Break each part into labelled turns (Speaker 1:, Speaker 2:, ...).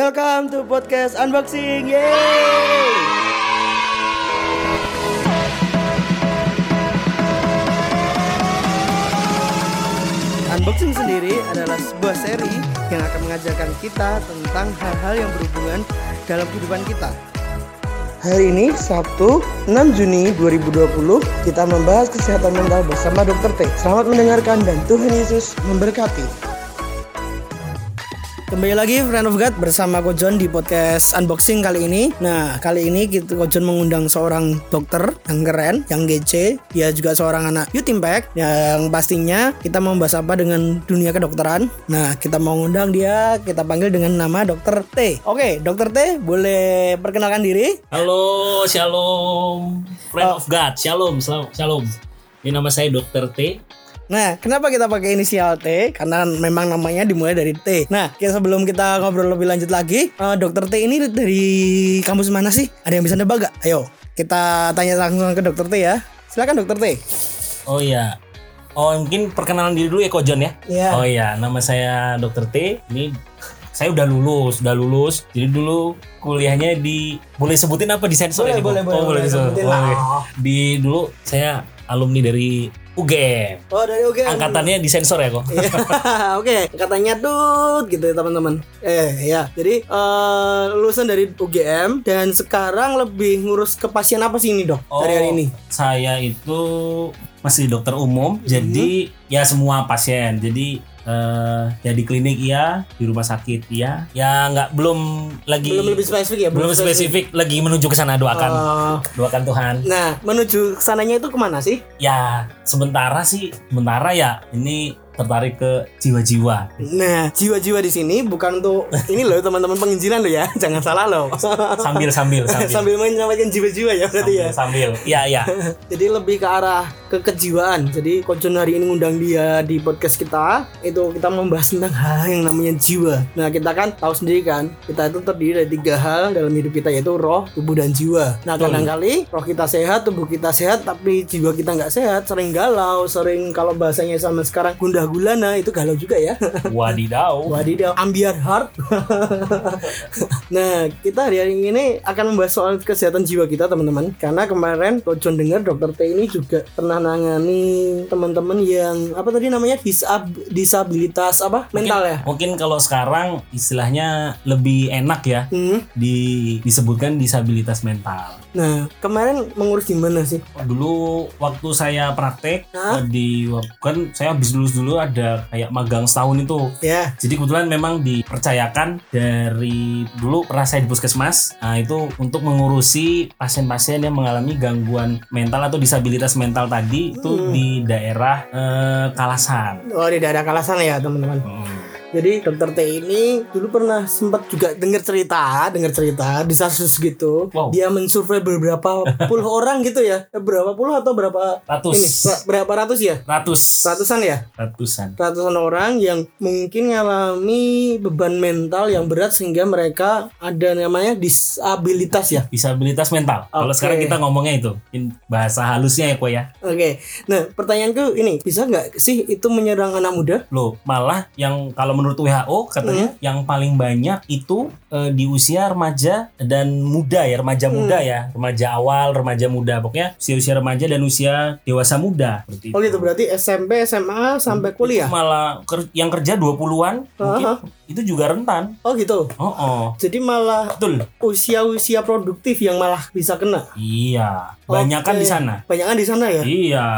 Speaker 1: Welcome to podcast unboxing. Yeay! Unboxing sendiri adalah sebuah seri yang akan mengajarkan kita tentang hal-hal yang berhubungan dalam kehidupan kita. Hari ini Sabtu 6 Juni 2020 kita membahas kesehatan mental bersama Dr. T. Selamat mendengarkan dan Tuhan Yesus memberkati. Kembali lagi Friend of God bersama Ko John di podcast unboxing kali ini. Nah, kali ini kita Ko John mengundang seorang dokter yang keren, yang gece. Dia juga seorang anak youth impact yang pastinya kita mau membahas apa dengan dunia kedokteran. Nah, kita mau ngundang dia, kita panggil dengan nama Dokter T. Oke, Dokter T, boleh perkenalkan diri?
Speaker 2: Halo, shalom, friend of God, shalom, shalom, shalom. Ini nama saya Dokter T.
Speaker 1: Nah, kenapa kita pakai inisial T? Karena memang namanya dimulai dari T. Nah, ya sebelum kita ngobrol lebih lanjut lagi, eh, Dokter T ini dari kampus mana sih? Ada yang bisa nebak gak? Ayo, kita tanya langsung ke Dokter T ya. Silakan Dokter T.
Speaker 2: Oh iya. Oh mungkin perkenalan diri dulu ya Ko John ya.
Speaker 1: Iya.
Speaker 2: Oh iya, nama saya Dokter T. Ini saya udah lulus, udah lulus. Jadi dulu kuliahnya di boleh sebutin apa di sensor
Speaker 1: Boleh,
Speaker 2: ini, Ko?
Speaker 1: boleh,
Speaker 2: oh,
Speaker 1: boleh, boleh,
Speaker 2: disebut.
Speaker 1: sebutin
Speaker 2: Oh,
Speaker 1: lah.
Speaker 2: oke. Di dulu saya alumni dari UGM.
Speaker 1: Oh, dari oke.
Speaker 2: Angkatannya di sensor ya kok.
Speaker 1: Iya, Oke, katanya tut gitu ya teman-teman. Eh ya, jadi eh, lulusan dari UGM dan sekarang lebih ngurus ke pasien apa sih ini dok?
Speaker 2: Oh,
Speaker 1: Dari hari ini?
Speaker 2: Saya itu masih dokter umum,
Speaker 1: Mhm.
Speaker 2: jadi ya semua pasien. Jadi eh ya di klinik iya, di rumah sakit iya. Ya nggak belum lagi
Speaker 1: Belum lebih spesifik ya?
Speaker 2: belum spesifik lagi menuju ke sana doakan
Speaker 1: Eh,
Speaker 2: doakan Tuhan.
Speaker 1: nah, menuju sananya itu kemana sih?
Speaker 2: Ya sementara sih, sementara ya ini tertarik ke jiwa-jiwa.
Speaker 1: Nah, jiwa-jiwa di sini bukan untuk ini loh teman-teman penginjilan loh ya, jangan salah loh.
Speaker 2: Sambil sambil sambil.
Speaker 1: Sambil menyelamatkan jiwa-jiwa ya berarti ya.
Speaker 2: sambil, sambil. Ya ya.
Speaker 1: Jadi lebih ke arah ke kejiwaan. Jadi Kocun hari ini ngundang dia di podcast kita. Itu kita membahas tentang hal yang namanya jiwa. Nah kita kan tahu sendiri kan, kita itu terdiri dari tiga hal dalam hidup kita yaitu roh, tubuh dan jiwa. Nah
Speaker 2: Betul.
Speaker 1: kadangkali roh kita sehat, tubuh kita sehat, tapi jiwa kita nggak sehat, sering galau, sering kalau bahasanya sama sekarang gundah gulana itu galau juga ya.
Speaker 2: Wadidau.
Speaker 1: Wadidaw, ambiar heart. nah, kita hari hari ini akan membahas soal kesehatan jiwa kita, teman-teman. Karena kemarin Coach John dengar dokter T ini juga pernah nangani teman-teman yang apa tadi namanya disab disabilitas apa mental ya?
Speaker 2: Mungkin kalau sekarang istilahnya lebih enak ya.
Speaker 1: Hmm.
Speaker 2: di disebutkan disabilitas mental.
Speaker 1: Nah, kemarin mengurus di mana sih?
Speaker 2: Dulu waktu saya praktek
Speaker 1: Hah?
Speaker 2: eh, di kan saya habis lulus dulu ada kayak magang setahun itu.
Speaker 1: Ya,
Speaker 2: Jadi kebetulan memang dipercayakan dari dulu pernah saya di puskesmas. Nah, itu untuk mengurusi pasien-pasien yang mengalami gangguan mental atau disabilitas mental tadi itu
Speaker 1: Hmm.
Speaker 2: di daerah eh, Kalasan.
Speaker 1: oh di daerah Kalasan ya, teman-teman. Jadi dokter T ini dulu pernah sempat juga dengar cerita, dengar cerita di Sarsus gitu.
Speaker 2: Wow.
Speaker 1: Dia mensurvei beberapa puluh orang gitu ya. Eh, Berapa puluh atau berapa
Speaker 2: Ratus.
Speaker 1: ini ber- berapa ratus ya?
Speaker 2: Ratus.
Speaker 1: Ratusan ya?
Speaker 2: Ratusan.
Speaker 1: Ratusan orang yang mungkin ngalami beban mental yang berat sehingga mereka ada namanya disabilitas ya.
Speaker 2: Disabilitas mental. Kalau
Speaker 1: Oke.
Speaker 2: sekarang kita ngomongnya itu In- bahasa halusnya ya, Ko ya.
Speaker 1: Oke. Nah, pertanyaanku ini, bisa nggak sih itu menyerang anak muda?
Speaker 2: Loh, malah yang kalau menurut WHO katanya
Speaker 1: Hmm.
Speaker 2: yang paling banyak itu eh, di usia remaja dan muda ya, remaja
Speaker 1: Hmm.
Speaker 2: muda ya, remaja awal, remaja muda. Pokoknya usia-usia remaja dan usia dewasa muda. Seperti
Speaker 1: Oh
Speaker 2: itu.
Speaker 1: gitu berarti SMP, SMA sampai kuliah.
Speaker 2: Itu malah ker- yang kerja 20-an mungkin
Speaker 1: Aha.
Speaker 2: itu juga rentan.
Speaker 1: Oh gitu.
Speaker 2: Oh, oh.
Speaker 1: Jadi malah
Speaker 2: Betul.
Speaker 1: usia-usia produktif yang malah bisa kena.
Speaker 2: Iya, banyak kan
Speaker 1: Oke.
Speaker 2: di sana.
Speaker 1: Banyakan di sana ya.
Speaker 2: Iya,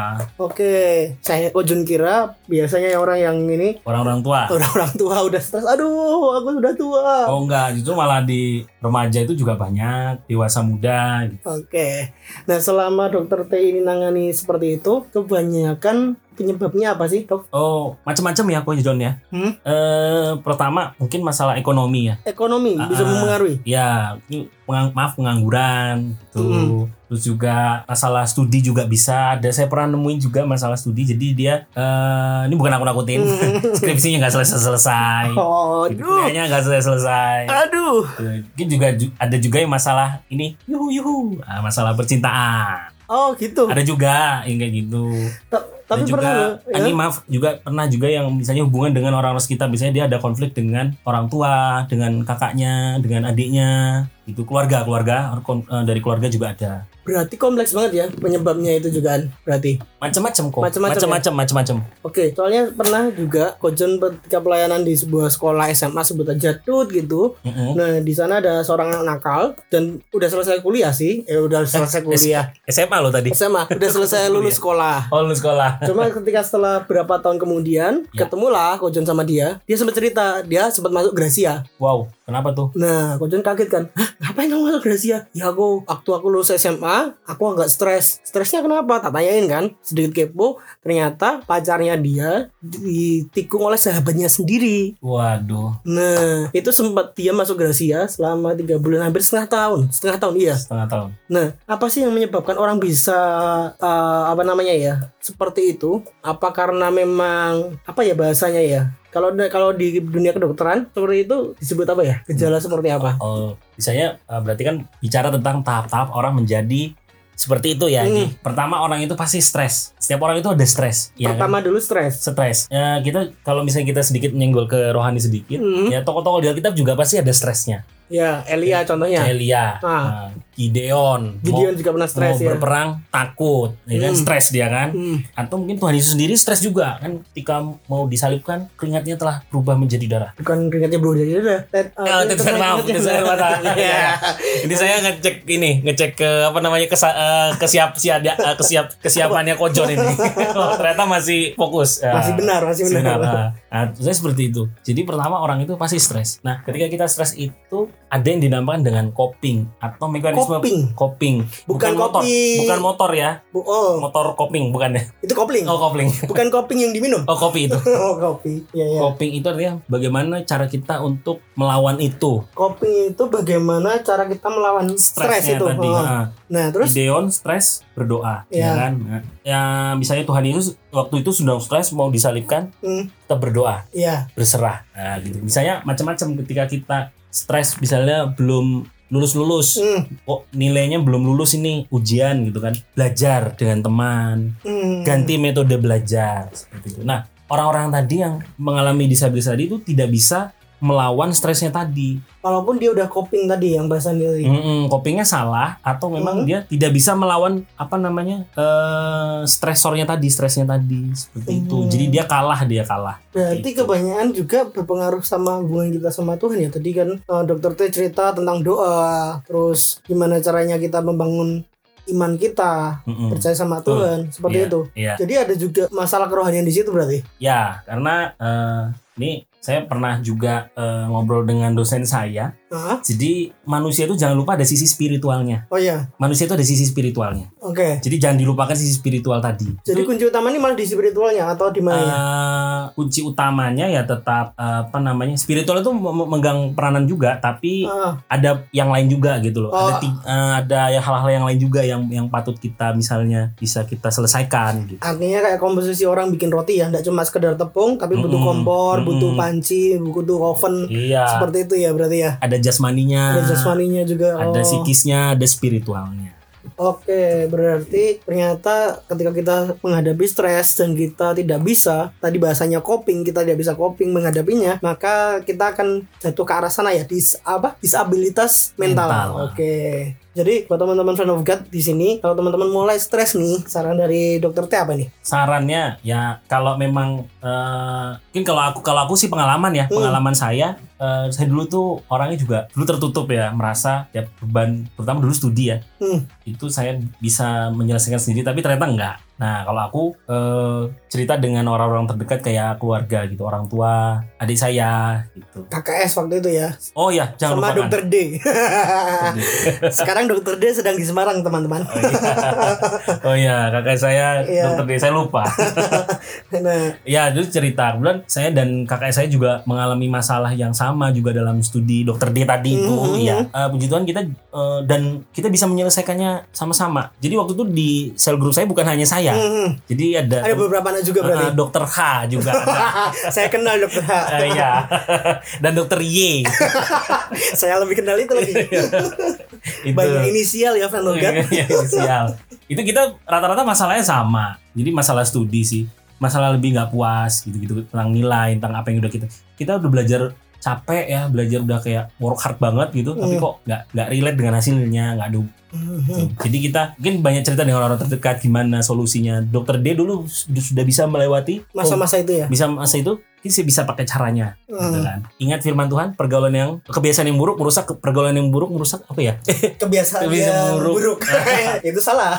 Speaker 1: Oke, saya Ojun kira biasanya orang yang ini
Speaker 2: orang-orang tua.
Speaker 1: orang-orang tua udah stres. Aduh, aku sudah tua.
Speaker 2: Oh enggak, justru malah di remaja itu juga banyak, dewasa muda gitu.
Speaker 1: Oke. Nah, selama dokter T ini nangani seperti itu, kebanyakan penyebabnya apa sih, Dok?
Speaker 2: Oh, macam-macam ya Coach John ya.
Speaker 1: Hmm?
Speaker 2: Eh, pertama mungkin masalah ekonomi ya.
Speaker 1: Ekonomi bisa
Speaker 2: Ah.
Speaker 1: mempengaruhi.
Speaker 2: Ya, ini pengang- maaf pengangguran gitu.
Speaker 1: Mm-mm.
Speaker 2: Terus juga masalah studi juga bisa. Ada saya pernah nemuin juga masalah studi. Jadi dia eh ini bukan aku nakutin.
Speaker 1: Hmm.
Speaker 2: Skripsinya nggak selesai-selesai.
Speaker 1: Oh,
Speaker 2: Gitu,
Speaker 1: aduh.
Speaker 2: Kuliahnya nggak selesai-selesai.
Speaker 1: Aduh.
Speaker 2: Gitu. Mungkin juga ju- ada juga yang masalah ini yuhu yuhu Ah, masalah percintaan
Speaker 1: Oh, gitu.
Speaker 2: ada juga yang kayak gitu
Speaker 1: Ta- Tapi
Speaker 2: Dan juga
Speaker 1: pernah loh, ya?
Speaker 2: ini maaf juga pernah juga yang misalnya hubungan dengan orang orang sekitar misalnya dia ada konflik dengan orang tua, dengan kakaknya, dengan adiknya, itu keluarga keluarga or- kon- eh, dari keluarga juga ada
Speaker 1: Berarti kompleks banget ya penyebabnya itu juga kan. Berarti.
Speaker 2: macam-macam kok
Speaker 1: Macam-macam ya?
Speaker 2: macam-macam macam-macam
Speaker 1: Oke, soalnya pernah juga Kojon ketika pelayanan di sebuah sekolah SMA sebut aja Tut gitu.
Speaker 2: Mm-mm.
Speaker 1: Nah, di sana ada seorang anak nakal dan udah selesai kuliah sih. Eh, udah selesai kuliah.
Speaker 2: SMA lo tadi
Speaker 1: SMA, udah selesai lulus sekolah.
Speaker 2: oh lulus sekolah
Speaker 1: Cuma ketika setelah berapa tahun kemudian
Speaker 2: Ya.
Speaker 1: ketemulah Kojon sama dia. Dia sempat cerita, dia sempat masuk Gracia.
Speaker 2: wow kenapa tuh
Speaker 1: Nah, Kojon kaget kan. Hah, ngapain kamu masuk Gracia? Ya aku, waktu aku lulus SMA, aku agak stres. Stresnya kenapa? Tak tanyain kan. Sedikit kepo, ternyata pacarnya dia ditikung oleh sahabatnya sendiri.
Speaker 2: waduh
Speaker 1: Nah, itu sempat dia masuk Gracia selama tiga bulan, hampir setengah tahun. Setengah tahun, iya.
Speaker 2: setengah tahun
Speaker 1: Nah, apa sih yang menyebabkan orang bisa eh, apa namanya ya seperti itu? Apa karena memang apa ya bahasanya ya? Kalau kalau di dunia kedokteran seperti itu disebut apa ya? Gejala seperti apa?
Speaker 2: Oh, misalnya eh, berarti kan bicara tentang tahap-tahap orang menjadi seperti itu
Speaker 1: Hmm.
Speaker 2: ya. Ji. Pertama orang itu pasti stres. Setiap orang itu ada stres, ya kan?
Speaker 1: Pertama dulu stres.
Speaker 2: Stres. Ya, kita kalau misalnya kita sedikit menyenggol ke rohani sedikit,
Speaker 1: Hmm.
Speaker 2: ya tokoh-tokoh di Alkitab juga pasti ada stresnya.
Speaker 1: Ya,
Speaker 2: Iya.
Speaker 1: Elia contohnya.
Speaker 2: Elia,
Speaker 1: Ah.
Speaker 2: eh, Gideon,
Speaker 1: Gideon
Speaker 2: mau,
Speaker 1: juga pernah stres
Speaker 2: mau
Speaker 1: ya.
Speaker 2: berperang takut, ya kan?
Speaker 1: Hmm.
Speaker 2: Stres dia kan.
Speaker 1: Hmm.
Speaker 2: Atau mungkin Tuhan Yesus sendiri stres juga kan ketika mau disalibkan keringatnya telah berubah menjadi darah.
Speaker 1: Bukan keringatnya bro jadi udah. Tet- eh,
Speaker 2: Oh, tetesan maaf,
Speaker 1: keringatnya. Iya.
Speaker 2: tetesan mata. Ya. Ini saya ngecek ini, ngecek ke apa namanya kesa, eh, kesiap siada eh, kesiap kesiapannya Kojon ini. Oh, ternyata masih fokus. Ya.
Speaker 1: Masih benar, masih benar.
Speaker 2: Nah, nah, saya seperti itu. Jadi pertama orang itu pasti stres. Nah, ketika kita stres itu ada yang dinamakan dengan coping atau mekanisme
Speaker 1: Coping.
Speaker 2: coping.
Speaker 1: Bukan
Speaker 2: motor,
Speaker 1: coping.
Speaker 2: bukan motor ya.
Speaker 1: Bu- oh,
Speaker 2: Motor coping bukan ya.
Speaker 1: itu kopling.
Speaker 2: Oh, kopling.
Speaker 1: Bukan koping yang diminum.
Speaker 2: Oh, kopi itu.
Speaker 1: Oh, kopi. Ya, ya.
Speaker 2: Coping itu artinya bagaimana cara kita untuk melawan itu
Speaker 1: Coping itu bagaimana cara kita melawan stres
Speaker 2: stresnya
Speaker 1: itu.
Speaker 2: tadi.
Speaker 1: Oh.
Speaker 2: Nah,
Speaker 1: Nah, terus
Speaker 2: Gideon stres berdoa
Speaker 1: Iya.
Speaker 2: ya kan Nah, ya misalnya Tuhan Yesus waktu itu sudah stres mau disalibkan
Speaker 1: Hmm,
Speaker 2: kita berdoa
Speaker 1: iya.
Speaker 2: berserah nah, gitu misalnya macam-macam ketika kita stres misalnya belum lulus lulus
Speaker 1: Hmm,
Speaker 2: kok nilainya belum lulus ini ujian gitu kan belajar dengan teman
Speaker 1: hmm.
Speaker 2: ganti metode belajar seperti itu nah orang-orang tadi yang mengalami disabilitas tadi itu tidak bisa melawan stresnya tadi
Speaker 1: Walaupun dia udah coping tadi yang bahasan dia tadi.
Speaker 2: Mm-mm, copingnya salah atau memang
Speaker 1: Mm.
Speaker 2: dia tidak bisa melawan apa namanya eh stresornya tadi, stresnya tadi seperti itu.
Speaker 1: Mm.
Speaker 2: Jadi dia kalah, dia kalah.
Speaker 1: Berarti
Speaker 2: Gitu.
Speaker 1: kebanyakan juga berpengaruh sama hubungan kita sama Tuhan ya. Tadi kan eh, dokter T cerita tentang doa, terus gimana caranya kita membangun iman kita,
Speaker 2: Mm-mm.
Speaker 1: percaya sama
Speaker 2: Hmm. Betul.
Speaker 1: Tuhan, seperti
Speaker 2: Iya,
Speaker 1: itu.
Speaker 2: Iya,
Speaker 1: Jadi ada juga masalah kerohanian di situ berarti.
Speaker 2: ya karena eh ini saya pernah juga eh, ngobrol dengan dosen saya.
Speaker 1: Hah?
Speaker 2: Jadi manusia itu jangan lupa ada sisi spiritualnya.
Speaker 1: Oh iya,
Speaker 2: Manusia itu ada sisi spiritualnya.
Speaker 1: oke.
Speaker 2: Jadi jangan dilupakan sisi spiritual tadi.
Speaker 1: Jadi kunci utama ini malah di spiritualnya atau di mana? ya?
Speaker 2: Eh, kunci utamanya ya tetap eh, apa namanya spiritual itu me- me- memegang peranan juga tapi
Speaker 1: Ah,
Speaker 2: ada yang lain juga gitu loh.
Speaker 1: Oh.
Speaker 2: Ada ti- eh, ada yang hal-hal yang lain juga yang yang patut kita misalnya bisa kita selesaikan gitu.
Speaker 1: artinya kayak komposisi orang bikin roti ya, nggak cuma sekedar tepung, tapi butuh
Speaker 2: Mm-mm,
Speaker 1: kompor,
Speaker 2: mm-mm.
Speaker 1: butuh panci, butuh oven,
Speaker 2: Iya.
Speaker 1: seperti itu ya berarti ya.
Speaker 2: Ada jasmaninya,
Speaker 1: Ada jasmaninya juga.
Speaker 2: Ah. ada
Speaker 1: oh.
Speaker 2: psikisnya, ada spiritualnya.
Speaker 1: Oke, berarti ternyata ketika kita menghadapi stres dan kita tidak bisa, tadi bahasanya coping, kita tidak bisa coping menghadapinya, maka kita akan jatuh ke arah sana ya, dis apa? Disabilitas mental.
Speaker 2: Mental.
Speaker 1: Oke. Jadi buat teman-teman friend of God di sini, kalau teman-teman mulai stres nih, saran dari dokter T apa nih?
Speaker 2: Sarannya ya kalau memang eh, mungkin kalau aku kalau aku sih pengalaman ya,
Speaker 1: Hmm.
Speaker 2: pengalaman saya eh, saya dulu tuh orangnya juga dulu tertutup ya, merasa ya beban terutama dulu studi ya.
Speaker 1: Hmm.
Speaker 2: Itu saya bisa menyelesaikan sendiri tapi ternyata enggak. Nah, kalau aku eh, cerita dengan orang-orang terdekat kayak keluarga gitu, orang tua, adik saya gitu.
Speaker 1: KKS waktu itu ya,
Speaker 2: Oh ya, jangan Oh
Speaker 1: sama
Speaker 2: lupakan.
Speaker 1: dokter D.
Speaker 2: iya.
Speaker 1: Sekarang dokter D sedang di Semarang, teman-teman.
Speaker 2: Oh iya. Oh iya, kakak saya
Speaker 1: Iya.
Speaker 2: dokter D, saya lupa.
Speaker 1: Nah,
Speaker 2: ya, dulu cerita kebetulan saya dan kakak saya juga mengalami masalah yang sama juga dalam studi dokter D tadi itu,
Speaker 1: Mhm.
Speaker 2: ya. Eh, puji Tuhan kita eh, dan kita bisa menyelesaikannya sama-sama. Jadi waktu itu di sel group saya bukan hanya saya.
Speaker 1: hmm,
Speaker 2: Jadi ada,
Speaker 1: ada beberapa anak juga berarti.
Speaker 2: eh, dokter H juga ada.
Speaker 1: Saya kenal dokter H.
Speaker 2: Eh, iya. dan dokter Y.
Speaker 1: Saya lebih kenal itu lagi.
Speaker 2: itu.
Speaker 1: banyak inisial ya Van Logan
Speaker 2: Iya, inisial. itu kita rata-rata masalahnya sama jadi masalah studi sih masalah lebih nggak puas gitu-gitu tentang nilai tentang apa yang udah kita kita udah belajar capek ya belajar udah kayak work hard banget gitu tapi
Speaker 1: Hmm.
Speaker 2: kok nggak nggak relate dengan hasilnya nggak ada
Speaker 1: Mhm.
Speaker 2: jadi kita mungkin banyak cerita dengan orang-orang terdekat gimana solusinya dokter D dulu su- sudah bisa melewati oh,
Speaker 1: masa-masa itu ya
Speaker 2: bisa masa itu kita sih bisa pakai caranya
Speaker 1: Hmm.
Speaker 2: gitu kan. ingat firman Tuhan pergaulan yang kebiasaan yang buruk merusak pergaulan yang buruk merusak apa ya
Speaker 1: kebiasaan
Speaker 2: Kebiasaan
Speaker 1: yang
Speaker 2: buruk.
Speaker 1: buruk, itu salah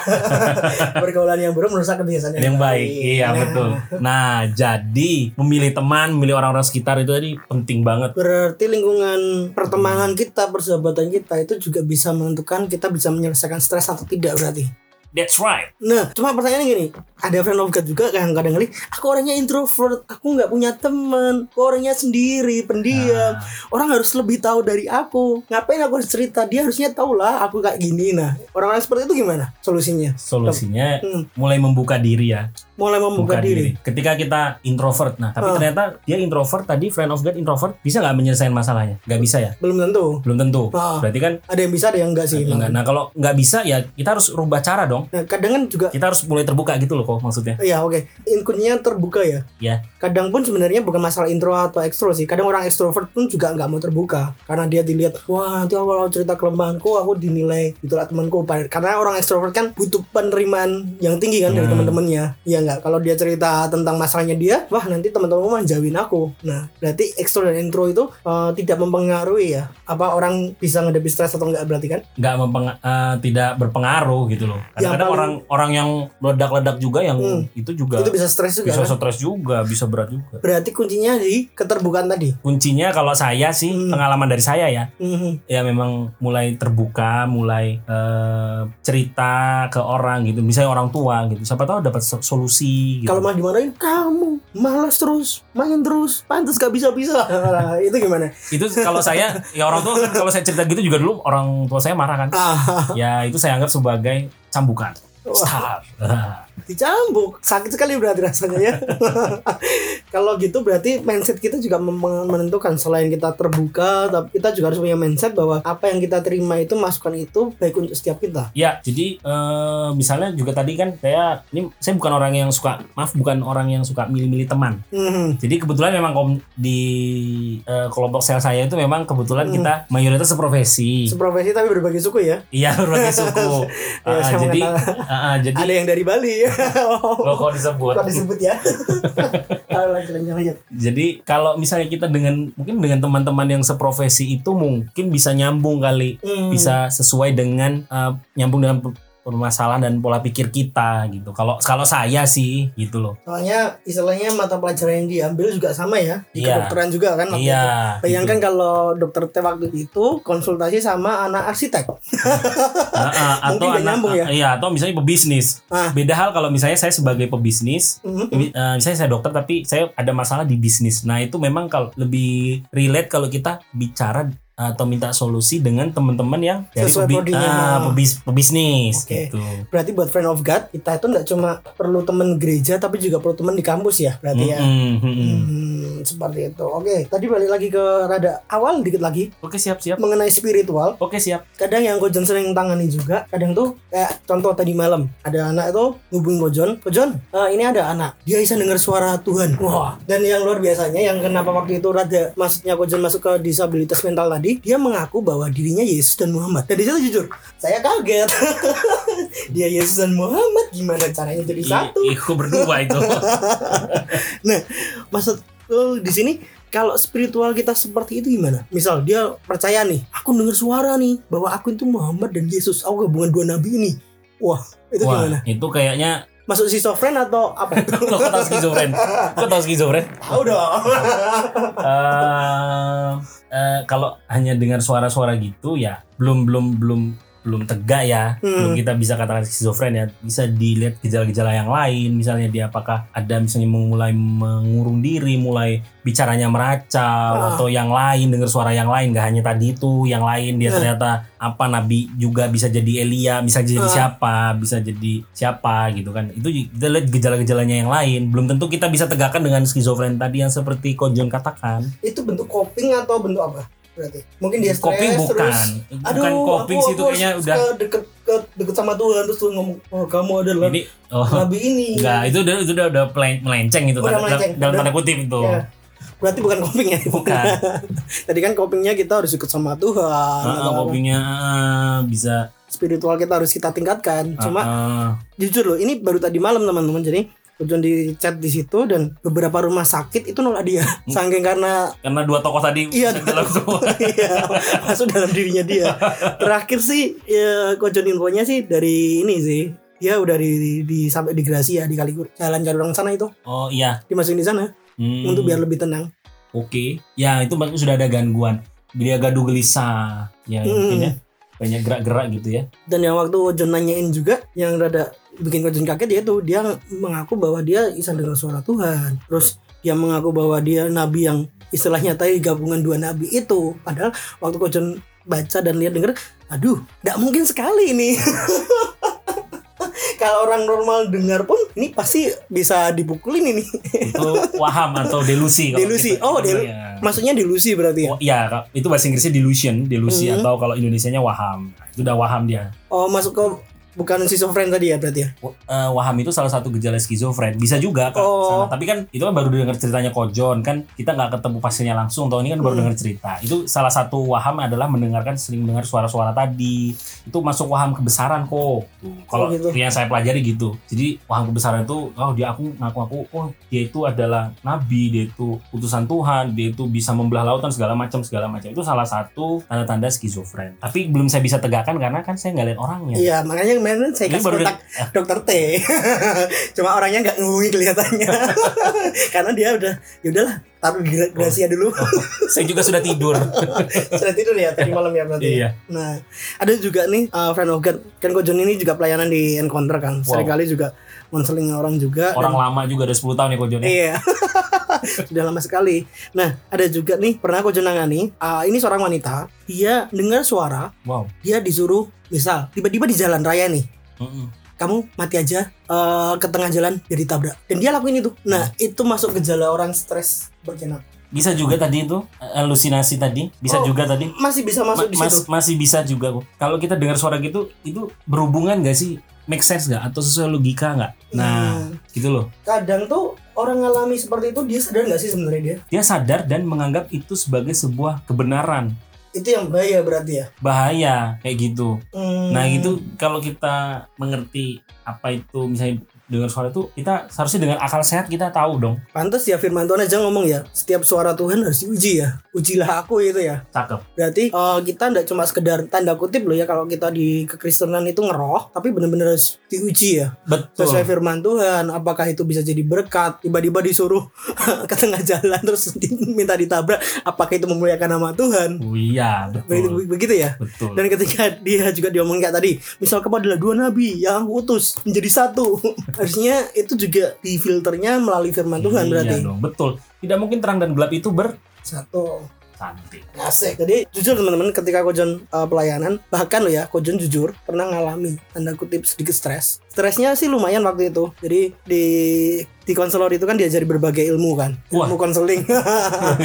Speaker 1: pergaulan yang buruk merusak kebiasaan
Speaker 2: yang baik iya
Speaker 1: Nah,
Speaker 2: betul nah jadi memilih teman memilih orang-orang sekitar itu tadi penting banget
Speaker 1: berarti lingkungan pertemanan kita persahabatan kita itu juga bisa menentukan kita bisa menyelesaikan stres atau tidak berarti
Speaker 2: that's right
Speaker 1: Nah, cuma pertanyaannya gini, ada friend of God juga kan, yang kadang kali aku orangnya introvert, aku nggak punya temen, aku orangnya sendiri, pendiam.
Speaker 2: Nah,
Speaker 1: Orang harus lebih tahu dari aku. Ngapain aku harus cerita? Dia harusnya tahu lah aku kayak gini. Nah, orang-orang seperti itu gimana solusinya?
Speaker 2: solusinya
Speaker 1: Hmm.
Speaker 2: mulai membuka diri ya
Speaker 1: Mulai membuka diri.
Speaker 2: ketika kita introvert nah
Speaker 1: Ah.
Speaker 2: tapi ternyata dia introvert tadi friend of God introvert bisa nggak menyelesaikan masalahnya nggak bisa ya
Speaker 1: Belum tentu.
Speaker 2: belum tentu
Speaker 1: Ah.
Speaker 2: berarti kan
Speaker 1: Ada yang bisa, ada yang enggak sih.
Speaker 2: enggak. nah kalau nggak bisa ya kita harus rubah cara dong
Speaker 1: Nah, kadang kan juga
Speaker 2: kita harus mulai terbuka gitu loh kok maksudnya
Speaker 1: Ya oke, In- kuncinya terbuka ya.
Speaker 2: Ya.
Speaker 1: Kadang pun sebenarnya bukan masalah intro atau ekstro sih. Kadang orang ekstrovert pun juga nggak mau terbuka karena dia dilihat, wah nanti awal awal cerita kelemahanku aku dinilai ditolak temanku. Padahal- Karena orang ekstrovert kan butuh penerimaan yang tinggi kan dari
Speaker 2: Hmm.
Speaker 1: teman-temannya. Iya nggak? Kalau dia cerita tentang masalahnya dia, wah nanti teman-teman mah jauhin aku. Nah berarti ekstro dan intro itu eh, tidak mempengaruhi ya. Apa orang bisa ngedepi stres atau nggak berarti kan?
Speaker 2: nggak mempeng- eh, tidak berpengaruh gitu loh kadang-kadang
Speaker 1: Ya, paling-
Speaker 2: orang orang yang meledak-ledak juga yang
Speaker 1: Hmm.
Speaker 2: itu juga
Speaker 1: Itu bisa stres juga.
Speaker 2: bisa
Speaker 1: kan?
Speaker 2: stres juga bisa berat juga
Speaker 1: Berarti kuncinya di keterbukaan tadi.
Speaker 2: kuncinya kalau saya sih
Speaker 1: Hmm.
Speaker 2: pengalaman dari saya ya
Speaker 1: Mhm.
Speaker 2: ya memang mulai terbuka, mulai eh, cerita ke orang gitu, misalnya orang tua gitu. Siapa tahu dapat so- solusi gitu.
Speaker 1: Kalau mah dimarahin kamu malas terus, main terus, pantas gak bisa bisa. itu gimana?
Speaker 2: itu kalau saya ya orang tua kan kalau saya cerita gitu juga dulu orang tua saya marah kan.
Speaker 1: Ah,
Speaker 2: Ya itu saya anggap sebagai cambukan.
Speaker 1: Wah.
Speaker 2: Star.
Speaker 1: dicambuk, sakit sekali berarti rasanya ya. Kalau gitu berarti mindset kita juga mem- menentukan selain kita terbuka, tapi kita juga harus punya mindset bahwa apa yang kita terima itu masukan itu baik untuk setiap kita.
Speaker 2: ya, jadi eh, misalnya juga tadi kan saya ini saya bukan orang yang suka maaf bukan orang yang suka milih-milih teman.
Speaker 1: Mhm.
Speaker 2: Jadi kebetulan memang kom- di eh, kelompok sel saya itu memang kebetulan
Speaker 1: Hmm.
Speaker 2: kita mayoritas seprofesi.
Speaker 1: Seprofesi tapi berbagai suku ya.
Speaker 2: Iya berbagai suku.
Speaker 1: Ya,
Speaker 2: Ah,
Speaker 1: saya
Speaker 2: jadi
Speaker 1: mengenal.
Speaker 2: ah, ah, jadi
Speaker 1: ada yang dari Bali.
Speaker 2: lo
Speaker 1: oh,
Speaker 2: kok disebut.
Speaker 1: kok disebut ya? Ah, lanjut, lanjut, lanjut.
Speaker 2: Jadi kalau misalnya kita dengan mungkin dengan teman-teman yang seprofesi itu mungkin bisa nyambung kali,
Speaker 1: Hmm.
Speaker 2: bisa sesuai dengan eh, nyambung dengan per- permasalahan dan pola pikir kita gitu. Kalau kalau saya sih gitu loh.
Speaker 1: Soalnya istilahnya mata pelajaran yang diambil juga sama ya di
Speaker 2: Iya.
Speaker 1: kedokteran juga kan. waktu itu.
Speaker 2: Iya.
Speaker 1: Bayangkan
Speaker 2: gitu.
Speaker 1: kalau dokter T waktu itu konsultasi sama anak arsitek.
Speaker 2: Ah, ah, atau
Speaker 1: Mungkin nggak
Speaker 2: anak,
Speaker 1: nyambung ya?
Speaker 2: ah, iya atau misalnya pebisnis.
Speaker 1: Ah.
Speaker 2: Beda hal kalau misalnya saya sebagai pebisnis
Speaker 1: Mhm.
Speaker 2: Bi- eh, misalnya saya dokter tapi saya ada masalah di bisnis. Nah itu memang kalau lebih relate kalau kita bicara eh, atau minta solusi dengan teman-teman yang dari
Speaker 1: Sesuai
Speaker 2: pebi-
Speaker 1: prodinya.
Speaker 2: ah, pebis- pebisnis
Speaker 1: Oke.
Speaker 2: gitu.
Speaker 1: Berarti buat friend of God kita itu nggak cuma perlu teman gereja tapi juga perlu teman di kampus ya berarti ya.
Speaker 2: Mm-mm, mm-mm.
Speaker 1: Hmm, seperti itu. Oke, tadi balik lagi ke rada awal dikit lagi
Speaker 2: Oke siap siap.
Speaker 1: mengenai spiritual.
Speaker 2: Oke siap.
Speaker 1: Kadang yang Gojon sering tangani juga, kadang tuh kayak contoh tadi malam ada anak itu ngubungin Gojon, Gojon, eh, ini ada anak, dia bisa dengar suara Tuhan. Wah, dan yang luar biasanya yang kenapa waktu itu rada maksudnya Gojon masuk ke disabilitas mental tadi, dia mengaku bahwa dirinya Yesus dan Muhammad. Dan di situ jujur, saya kaget. dia Yesus dan Muhammad gimana caranya jadi satu?
Speaker 2: I- Iku berdua itu.
Speaker 1: maksud lu di sini kalau spiritual kita seperti itu gimana? Misal dia percaya nih, aku dengar suara nih bahwa aku itu Muhammad dan Yesus, aku gabungan dua nabi ini. Wah, itu gimana?
Speaker 2: Wah itu kayaknya
Speaker 1: Masuk schizofren atau apa itu?
Speaker 2: lo kok tau skizofren? Kok tau skizofren?
Speaker 1: Tahu dong.
Speaker 2: Eh, eh, kalau hanya dengar suara-suara gitu ya belum belum belum belum tegak ya belum
Speaker 1: Hmm.
Speaker 2: kita bisa katakan skizofren ya bisa dilihat gejala-gejala yang lain misalnya dia apakah ada misalnya mulai mengurung diri mulai bicaranya meracau
Speaker 1: Ah.
Speaker 2: atau yang lain dengar suara yang lain nggak hanya tadi itu yang lain dia
Speaker 1: Nah.
Speaker 2: ternyata apa nabi juga bisa jadi Elia bisa jadi
Speaker 1: Ah.
Speaker 2: siapa bisa jadi siapa gitu kan itu kita lihat gejala-gejalanya yang lain belum tentu kita bisa tegakkan dengan skizofren tadi yang seperti Kojon katakan
Speaker 1: itu bentuk coping atau bentuk apa? Berarti mungkin dia stres
Speaker 2: kopi bukan
Speaker 1: terus
Speaker 2: bukan
Speaker 1: Aduh,
Speaker 2: coping
Speaker 1: aku-
Speaker 2: sih itu
Speaker 1: aku
Speaker 2: kayaknya
Speaker 1: harus
Speaker 2: udah
Speaker 1: ke deket dekat dekat sama Tuhan terus Tuhan ngomong oh kamu adalah
Speaker 2: Jadi oh
Speaker 1: nabi ini
Speaker 2: enggak itu udah itu udah udah pelen- melenceng itu
Speaker 1: Udah
Speaker 2: tanda-
Speaker 1: melenceng,
Speaker 2: dalam
Speaker 1: udah.
Speaker 2: tanda kutip itu.
Speaker 1: Ya. berarti bukan coping ya
Speaker 2: Bukan.
Speaker 1: tadi kan copingnya kita harus ikut sama Tuhan
Speaker 2: Heeh,
Speaker 1: atau apa.
Speaker 2: kopinya eh, bisa
Speaker 1: spiritual kita harus kita
Speaker 2: Ah,
Speaker 1: tingkatkan cuma
Speaker 2: heeh.
Speaker 1: jujur loh ini baru tadi malam teman-teman jadi Ujung di chat di situ dan beberapa rumah sakit itu nolak dia saking karena
Speaker 2: karena dua tokoh tadi
Speaker 1: Iya.
Speaker 2: bisa Hmm. dalam semua.
Speaker 1: Iya, masuk dalam dirinya dia. Terakhir sih, ya, kojon infonya sih dari ini sih. Dia udah di, di sampai di Gracia di Kaligur. Jalan orang sana itu
Speaker 2: Oh iya.
Speaker 1: dimasukin di sana
Speaker 2: Hmm.
Speaker 1: untuk biar lebih tenang.
Speaker 2: Oke. Ya itu maksudnya sudah ada gangguan. Dia gaduh gelisah. Ya
Speaker 1: Hmm.
Speaker 2: mungkin ya. Banyak gerak-gerak gitu ya.
Speaker 1: Dan yang waktu kojon nanyain juga yang rada bikin kojon kaget yaitu dia mengaku bahwa dia bisa dengar suara Tuhan. Terus dia mengaku bahwa dia nabi yang istilahnya tadi gabungan dua nabi itu. Padahal waktu kojon baca dan lihat denger, aduh, tidak mungkin sekali ini. Kalau orang normal dengar pun, ini pasti bisa dipukulin ini.
Speaker 2: Itu waham atau delusi kalau
Speaker 1: Delusi.
Speaker 2: kita-
Speaker 1: Oh, delu-
Speaker 2: Iya.
Speaker 1: Maksudnya delusi berarti ya?
Speaker 2: Oh, iya, Kak. itu bahasa Inggrisnya delusion, delusi
Speaker 1: Mhm.
Speaker 2: atau kalau Indonesianya waham. Nah, Itu udah waham dia.
Speaker 1: Oh, masuk ke bukan schizofren tadi ya berarti ya?
Speaker 2: W- eh, waham itu salah satu gejala skizofren bisa juga kan
Speaker 1: Oh.
Speaker 2: tapi kan itu kan baru dengar ceritanya kojon kan kita nggak ketemu pasiennya langsung tahun ini kan baru
Speaker 1: Hmm.
Speaker 2: dengar cerita itu salah satu waham adalah mendengarkan sering mendengar suara-suara tadi itu masuk waham kebesaran kok Tuh, kalau
Speaker 1: gitu.
Speaker 2: yang saya pelajari gitu jadi waham kebesaran itu oh dia aku ngaku aku oh dia itu adalah nabi dia itu utusan Tuhan dia itu bisa membelah lautan segala macam segala macam itu salah satu tanda-tanda skizofren tapi belum saya bisa tegakkan karena kan saya nggak lihat orangnya
Speaker 1: Iya, makanya kemarin saya
Speaker 2: Ini
Speaker 1: kasih
Speaker 2: baru-
Speaker 1: kontak dokter T. Cuma orangnya nggak ngehubungi kelihatannya. Karena dia udah ya udahlah, taruh di gra- Gracia dulu.
Speaker 2: Oh. saya juga sudah tidur
Speaker 1: Sudah tidur ya tadi malam ya berarti.
Speaker 2: iya
Speaker 1: Nah, ada juga nih uh, friend of God. Kan Kojon ini juga pelayanan di Encounter kan.
Speaker 2: Wow.
Speaker 1: Seringkali juga konseling orang juga.
Speaker 2: orang
Speaker 1: Dan-
Speaker 2: lama juga udah 10 tahun ya Kojon ya.
Speaker 1: Iya. Sudah lama sekali. Nah, ada juga nih pernah Kojon nangani. uh, ini seorang wanita, dia dengar suara,
Speaker 2: Wow.
Speaker 1: dia disuruh misal tiba-tiba di jalan raya nih
Speaker 2: Mm-mm.
Speaker 1: kamu mati aja eh, ke tengah jalan jadi tabrak dan dia lakuin itu nah
Speaker 2: Hmm.
Speaker 1: itu masuk gejala orang stres bagian apa?
Speaker 2: Bisa juga tadi itu eh, halusinasi tadi,
Speaker 1: Oh,
Speaker 2: bisa juga tadi.
Speaker 1: masih bisa
Speaker 2: Ma-
Speaker 1: masuk di
Speaker 2: mas-
Speaker 1: situ
Speaker 2: masih bisa juga Bu. Kalau kita dengar suara gitu, itu berhubungan gak sih? Make sense gak? Atau sesuai logika gak?
Speaker 1: Nah,
Speaker 2: Nah, gitu loh.
Speaker 1: kadang tuh orang ngalami seperti itu dia sadar nggak sih sebenarnya dia
Speaker 2: Dia sadar dan menganggap itu sebagai sebuah kebenaran.
Speaker 1: itu yang bahaya berarti ya
Speaker 2: Bahaya kayak gitu.
Speaker 1: Hmm.
Speaker 2: Nah, itu kalau kita mengerti apa itu misalnya dengar suara itu, kita seharusnya dengan akal sehat kita tahu dong.
Speaker 1: pantas ya firman Tuhan aja ngomong ya setiap suara Tuhan harus diuji ya ujilah aku itu ya
Speaker 2: Cakep.
Speaker 1: berarti eh, kita nggak cuma sekedar tanda kutip loh ya kalau kita di kekristenan itu ngeroh tapi benar-benar harus diuji ya
Speaker 2: Betul.
Speaker 1: sesuai firman Tuhan apakah itu bisa jadi berkat tiba-tiba disuruh ke tengah jalan terus di- minta ditabrak apakah itu memuliakan nama Tuhan
Speaker 2: Oh, iya,
Speaker 1: begitu,
Speaker 2: betul.
Speaker 1: begitu ya
Speaker 2: Betul.
Speaker 1: dan ketika dia juga diomong kayak tadi misal kamu adalah dua nabi yang aku utus menjadi satu harusnya itu juga difilternya melalui firman Tuhan
Speaker 2: Iya
Speaker 1: berarti
Speaker 2: dong, betul. Tidak mungkin terang dan gelap itu
Speaker 1: satu
Speaker 2: bersantai.
Speaker 1: Asik. Jadi jujur teman-teman ketika Kojon uh, pelayanan bahkan lo ya Kojon jujur pernah ngalami tanda kutip sedikit stres. Stresnya sih lumayan waktu itu. Jadi di di konselor itu kan diajari berbagai ilmu kan.
Speaker 2: Wah.
Speaker 1: Ilmu konseling.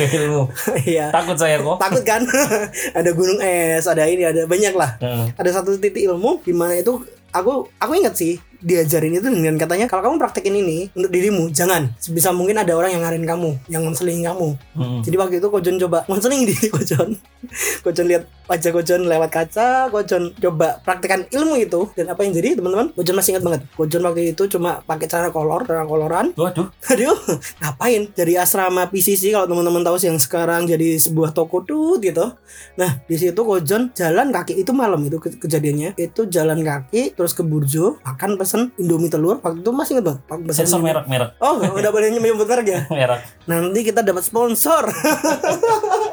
Speaker 1: Iya.
Speaker 2: Takut saya kok.
Speaker 1: Takut kan? ada gunung es, ada ini, ada banyak lah.
Speaker 2: Heeh.
Speaker 1: Ada satu titik ilmu di mana itu aku aku ingat sih diajarin itu dengan katanya kalau kamu praktekin ini untuk dirimu jangan sebisa mungkin ada orang yang ngarin kamu yang ngonseling kamu
Speaker 2: Heeh.
Speaker 1: jadi waktu itu Kojon coba konseling diri Kojon. Kojon lihat wajah Kojon lewat kaca, Kojon coba praktekan ilmu itu dan apa yang jadi teman-teman? Kojon masih ingat banget. Kojon waktu itu cuma pakai cara kolor, cara koloran.
Speaker 2: Tuh, aduh,
Speaker 1: Aduh, ngapain? Dari asrama PCC kalau teman-teman tahu sih yang sekarang jadi sebuah toko tut gitu. Nah, di situ Kojon jalan kaki itu malam itu ke- kejadiannya. Itu jalan kaki terus ke Burjo, makan pesen Indomie telur. Waktu itu masih ingat banget. Pesen
Speaker 2: sensor merek-merek,
Speaker 1: Oh, udah boleh nyebut merek ya.
Speaker 2: merek.
Speaker 1: Nanti kita dapat sponsor.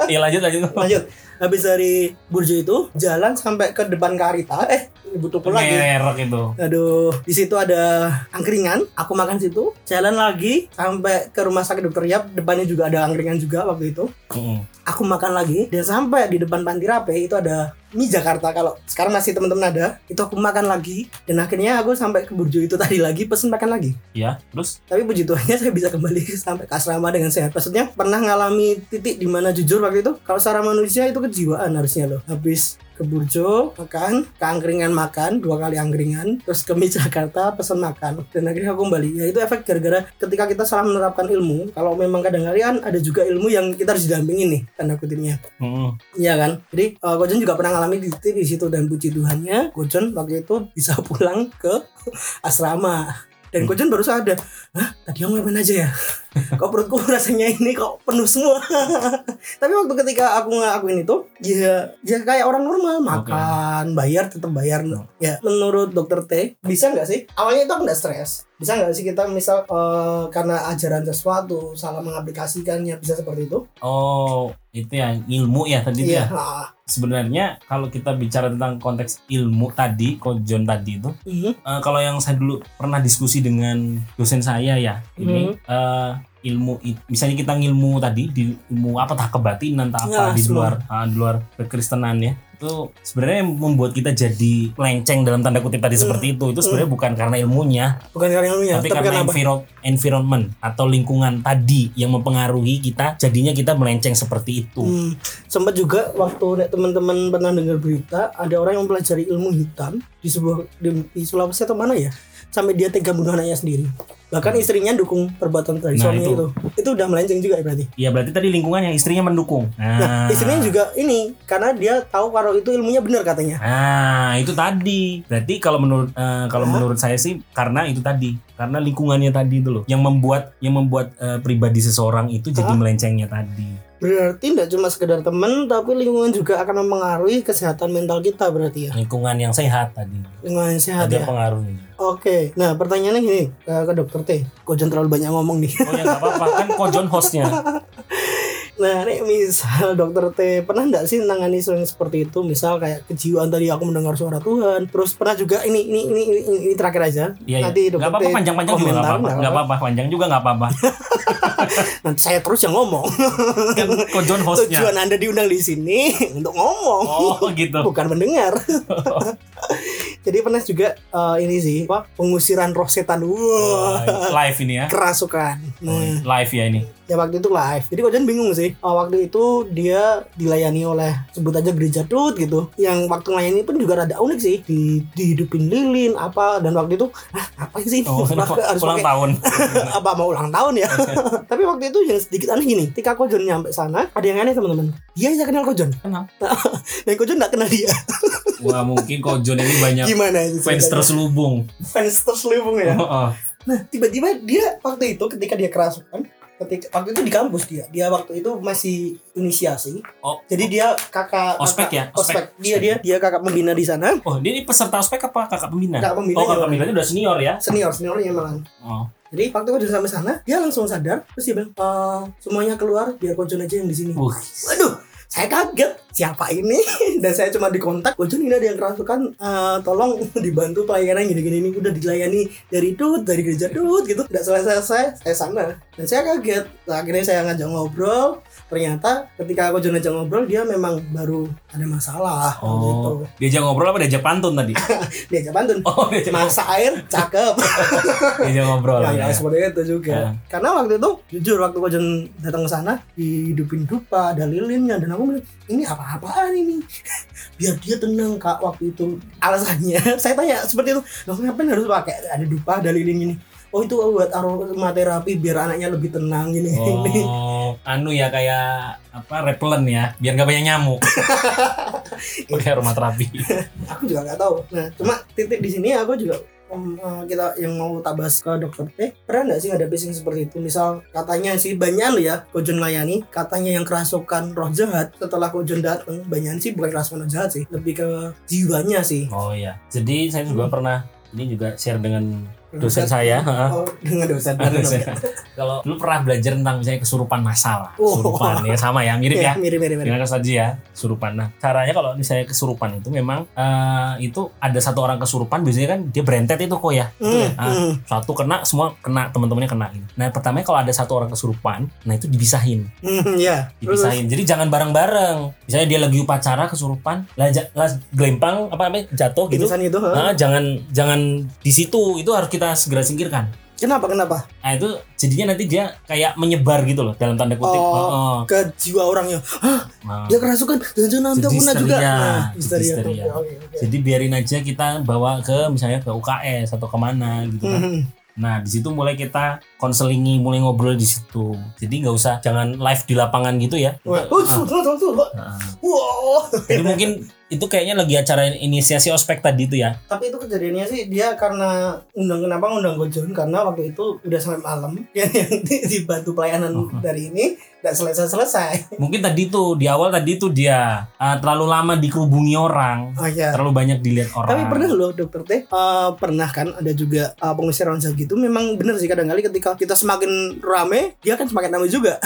Speaker 2: Iya lanjut lanjut.
Speaker 1: lanjut habis dari Burjo itu jalan sampai ke depan Karita eh butuh pula lagi
Speaker 2: Merek itu.
Speaker 1: aduh di situ ada angkringan aku makan situ jalan lagi sampai ke rumah sakit dokter Yap depannya juga ada angkringan juga waktu itu
Speaker 2: Heeh.
Speaker 1: aku makan lagi dan sampai di depan panti rape itu ada mie Jakarta kalau sekarang masih teman-teman ada itu aku makan lagi dan akhirnya aku sampai ke Burjo itu tadi lagi pesen makan lagi
Speaker 2: ya terus
Speaker 1: tapi puji Tuhannya saya bisa kembali sampai ke asrama dengan sehat. Maksudnya pernah ngalami titik di mana jujur waktu itu kalau secara manusia itu kejiwaan harusnya loh. Habis ke Burjo makan, ke angkringan makan, dua kali angkringan, terus ke Mi Jakarta pesan makan dan akhirnya aku kembali. Ya itu efek gara-gara ketika kita salah menerapkan ilmu, kalau memang kadang-kadang ada juga ilmu yang kita harus didampingin nih tanda kutipnya.
Speaker 2: Mm,
Speaker 1: Iya kan? Jadi eh, Gojon juga pernah ngalami di titik di situ dan puji Tuhannya Gojon waktu itu bisa pulang ke asrama. Dan Gojon baru sadar, "Hah, tadi aku ngapain aja ya? kok perutku rasanya ini kok penuh semua." Tapi waktu ketika aku ngakuin itu, ya ya kayak orang normal makan, bayar tetap bayar. Ya, menurut dokter T, bisa nggak sih? Awalnya itu aku nggak stres. Bisa nggak sih kita misal eh, karena ajaran sesuatu salah mengaplikasikannya bisa seperti itu?
Speaker 2: oh itu ya ilmu ya tadi itu ya
Speaker 1: ah,
Speaker 2: sebenarnya kalau kita bicara tentang konteks ilmu tadi kojon tadi itu
Speaker 1: mhm.
Speaker 2: Eh, kalau yang saya dulu pernah diskusi dengan dosen saya ya
Speaker 1: Hmm.
Speaker 2: ini eh, ilmu i- misalnya kita ngilmu tadi di ilmu apa tak kebatinan tak
Speaker 1: Ya,
Speaker 2: apa di
Speaker 1: semua.
Speaker 2: luar ah, di luar kekristenan ya itu sebenarnya yang membuat kita jadi lenceng dalam tanda kutip tadi
Speaker 1: Hmm.
Speaker 2: seperti itu itu sebenarnya bukan karena ilmunya
Speaker 1: Bukan karena ilmunya,
Speaker 2: tapi, karena
Speaker 1: Ya, kenapa?
Speaker 2: enviro- environment atau lingkungan tadi yang mempengaruhi kita jadinya kita melenceng seperti itu
Speaker 1: Hmm, sempat juga waktu nek teman-teman pernah dengar berita ada orang yang mempelajari ilmu hitam di sebuah di, di Sulawesi atau mana ya sampai dia tega bunuh anaknya sendiri bahkan istrinya dukung perbuatan dari
Speaker 2: Hmm. Nah,
Speaker 1: suaminya itu.
Speaker 2: itu.
Speaker 1: itu udah melenceng juga ya berarti
Speaker 2: ya berarti tadi lingkungan yang istrinya mendukung Ah.
Speaker 1: nah, istrinya juga ini karena dia tahu kalau itu ilmunya benar katanya
Speaker 2: Nah, itu tadi. Berarti kalau menurut eh, kalau
Speaker 1: Hah?
Speaker 2: menurut saya sih karena itu tadi, karena lingkungannya tadi itu loh yang membuat yang membuat eh, pribadi seseorang itu jadi
Speaker 1: Hah?
Speaker 2: melencengnya tadi.
Speaker 1: berarti tidak cuma sekedar teman tapi lingkungan juga akan mempengaruhi kesehatan mental kita berarti ya
Speaker 2: Lingkungan yang sehat tadi.
Speaker 1: lingkungan yang sehat
Speaker 2: Ada
Speaker 1: ya
Speaker 2: pengaruhnya.
Speaker 1: oke nah pertanyaannya gini ke, ke dokter T kok jangan terlalu banyak ngomong nih
Speaker 2: Oh ya nggak apa-apa kan kojon hostnya.
Speaker 1: Nah, nek misal dokter T pernah nggak sih nangani isu yang seperti itu? Misal kayak kejiwaan tadi aku mendengar suara Tuhan. Terus pernah juga ini ini ini ini, ini terakhir aja.
Speaker 2: Iya.
Speaker 1: Nanti
Speaker 2: Iya.
Speaker 1: dokter
Speaker 2: Nggak apa-apa
Speaker 1: T
Speaker 2: panjang-panjang juga nggak
Speaker 1: komentar,
Speaker 2: apa-apa.
Speaker 1: nggak
Speaker 2: Nggak apa-apa panjang juga nggak apa-apa.
Speaker 1: Nanti saya terus yang ngomong.
Speaker 2: Kan kojon hostnya.
Speaker 1: Tujuan Anda diundang di sini untuk ngomong.
Speaker 2: Oh gitu.
Speaker 1: Bukan mendengar. Jadi pernah juga eh, ini sih, apa pengusiran roh setan. Wah,
Speaker 2: Wah, Oh, live ini ya.
Speaker 1: kerasukan.
Speaker 2: Oh,
Speaker 1: Nah,
Speaker 2: live ya ini.
Speaker 1: ya waktu itu live jadi Kojan bingung sih Oh, waktu itu dia dilayani oleh sebut aja gereja tut gitu yang waktu melayani pun juga rada unik sih di dihidupin lilin apa dan waktu itu ah apa sih ini?
Speaker 2: Oh,
Speaker 1: Kenapa harus pakai-
Speaker 2: ulang tahun.
Speaker 1: apa mau ulang tahun ya tapi waktu itu yang sedikit aneh gini ketika Kojon nyampe sana ada yang aneh teman-teman dia yang kenal Kojon
Speaker 2: Kenal.
Speaker 1: dan Kojon nggak kenal dia
Speaker 2: Wah mungkin kojon ini banyak
Speaker 1: gimana itu
Speaker 2: Ya. fans Oh.
Speaker 1: ceritanya?
Speaker 2: terselubung.
Speaker 1: fans terselubung ya
Speaker 2: Heeh.
Speaker 1: Nah, tiba-tiba dia waktu itu ketika dia kerasukan, ketika waktu itu di kampus dia, dia waktu itu masih inisiasi.
Speaker 2: Oh.
Speaker 1: Jadi dia kakak
Speaker 2: Ospek
Speaker 1: kakak-
Speaker 2: ya?
Speaker 1: Ospek.
Speaker 2: Ospek.
Speaker 1: Dia dia dia kakak pembina di sana,
Speaker 2: Oh, dia ini peserta ospek apa kakak pembina?
Speaker 1: kakak pembina.
Speaker 2: oh, kakak
Speaker 1: juga.
Speaker 2: pembina itu udah senior ya?
Speaker 1: Senior, seniornya malah.
Speaker 2: Oh.
Speaker 1: Jadi waktu udah sampai sana, dia langsung sadar, terus dia bilang, "Eh, semuanya keluar, biar Kojon aja yang di sini."
Speaker 2: Wuh.
Speaker 1: Waduh, saya kaget. Siapa ini? Dan saya cuma dikontak. Kojon ini ada yang kerasukan. eh, tolong dibantu pelayanan gini-gini ini udah dilayani dari tut dari gereja tut gitu. Tidak selesai-selesai saya sana. Dan saya kaget. Nah, akhirnya saya ngajak ngobrol. Ternyata ketika Kojon ngajak ngobrol dia memang baru ada masalah. gitu. waktu itu.
Speaker 2: Oh. Diajak ngobrol apa diajak pantun tadi?
Speaker 1: Diajak pantun.
Speaker 2: Oh, diajak,
Speaker 1: Masa air cakep.
Speaker 2: diajak ngobrol.
Speaker 1: Ya, Nah, ya,
Speaker 2: ya.
Speaker 1: seperti itu juga.
Speaker 2: Ya.
Speaker 1: Karena waktu itu jujur waktu Kojon datang ke sana dihidupin dupa, ada lilinnya dan aku bilang ini apa-apaan ini. Biar dia tenang kak waktu itu alasannya. saya tanya seperti itu, loh ngapain harus pakai ada dupa, ada lilin ini? Oh itu buat aromaterapi biar anaknya lebih tenang gini. gini.
Speaker 2: Oh, anu ya kayak apa repelen ya, biar nggak banyak nyamuk. Pakai rumah terapi.
Speaker 1: aku juga nggak tahu. Nah cuma titik di sini aku juga um, uh, kita yang mau tabas ke dokter T pernah nggak sih ada yang seperti itu misal katanya sih banyak lo ya Kojon layani katanya yang kerasukan roh jahat setelah Kojon datang banyak sih bukan kerasukan roh jahat sih lebih ke jiwanya sih Hmm.
Speaker 2: Oh iya. Jadi saya juga pernah ini juga share dengan dosen saya heeh.
Speaker 1: Oh, dengan dosen
Speaker 2: Ada
Speaker 1: baru dong.
Speaker 2: dosen. kalau dulu pernah belajar tentang misalnya kesurupan massal
Speaker 1: Oh.
Speaker 2: kesurupan ya sama ya mirip ya
Speaker 1: Iya, mirip mirip mirip.
Speaker 2: Dengan saja ya, kesurupan. Nah, caranya kalau misalnya kesurupan itu memang eh, itu ada satu orang kesurupan biasanya kan dia berentet itu kok ya. Gitu ya.
Speaker 1: Hmm,
Speaker 2: Ah,
Speaker 1: hmm.
Speaker 2: satu kena semua kena teman-temannya kena gitu. Nah, pertamanya kalau ada satu orang kesurupan, nah itu dibisahin,
Speaker 1: Hmm, ya. Terus,
Speaker 2: dipisahin. Jadi jangan bareng-bareng. Misalnya dia lagi upacara kesurupan, lah, ja- lah gelempang apa namanya jatuh gitu.
Speaker 1: pingsan gitu. ha?
Speaker 2: Nah, jangan jangan di situ, itu harus kita segera singkirkan.
Speaker 1: Kenapa kenapa?
Speaker 2: Nah, itu jadinya nanti dia kayak menyebar gitu loh dalam tanda kutip.
Speaker 1: Oh.
Speaker 2: Heeh.
Speaker 1: Ke jiwa orangnya. Hah,
Speaker 2: Nah.
Speaker 1: dia kerasukan. Jangan nanti aku kena
Speaker 2: Jadi
Speaker 1: juga.
Speaker 2: histeria.
Speaker 1: Nah,
Speaker 2: Jadi
Speaker 1: histeria.
Speaker 2: histeria.
Speaker 1: Oke, oke, oke.
Speaker 2: Iya. Jadi biarin aja kita bawa ke misalnya ke UKS atau kemana gitu kan.
Speaker 1: Hmm,
Speaker 2: Nah di situ mulai kita konselingi, mulai ngobrol di situ. Jadi nggak usah jangan live di lapangan gitu ya.
Speaker 1: Wah, oh, tuh, tuh, tuh, tuh.
Speaker 2: Nah,
Speaker 1: Wow.
Speaker 2: jadi mungkin itu kayaknya lagi acara inisiasi ospek tadi itu ya.
Speaker 1: Tapi itu kejadiannya sih dia karena undang kenapa ngundang Gojon karena waktu itu udah sampai malam yang yang di- dibantu pelayanan
Speaker 2: Mhm.
Speaker 1: dari ini nggak selesai selesai.
Speaker 2: Mungkin tadi tuh di awal tadi tuh dia ah, terlalu lama dikerubungi orang,
Speaker 1: Oh ya.
Speaker 2: terlalu banyak dilihat
Speaker 1: Tapi
Speaker 2: orang.
Speaker 1: pernah loh dokter T, eh, pernah kan ada juga eh, pengusir orang sakit itu memang benar sih kadang kali ketika kita semakin rame dia kan semakin rame juga.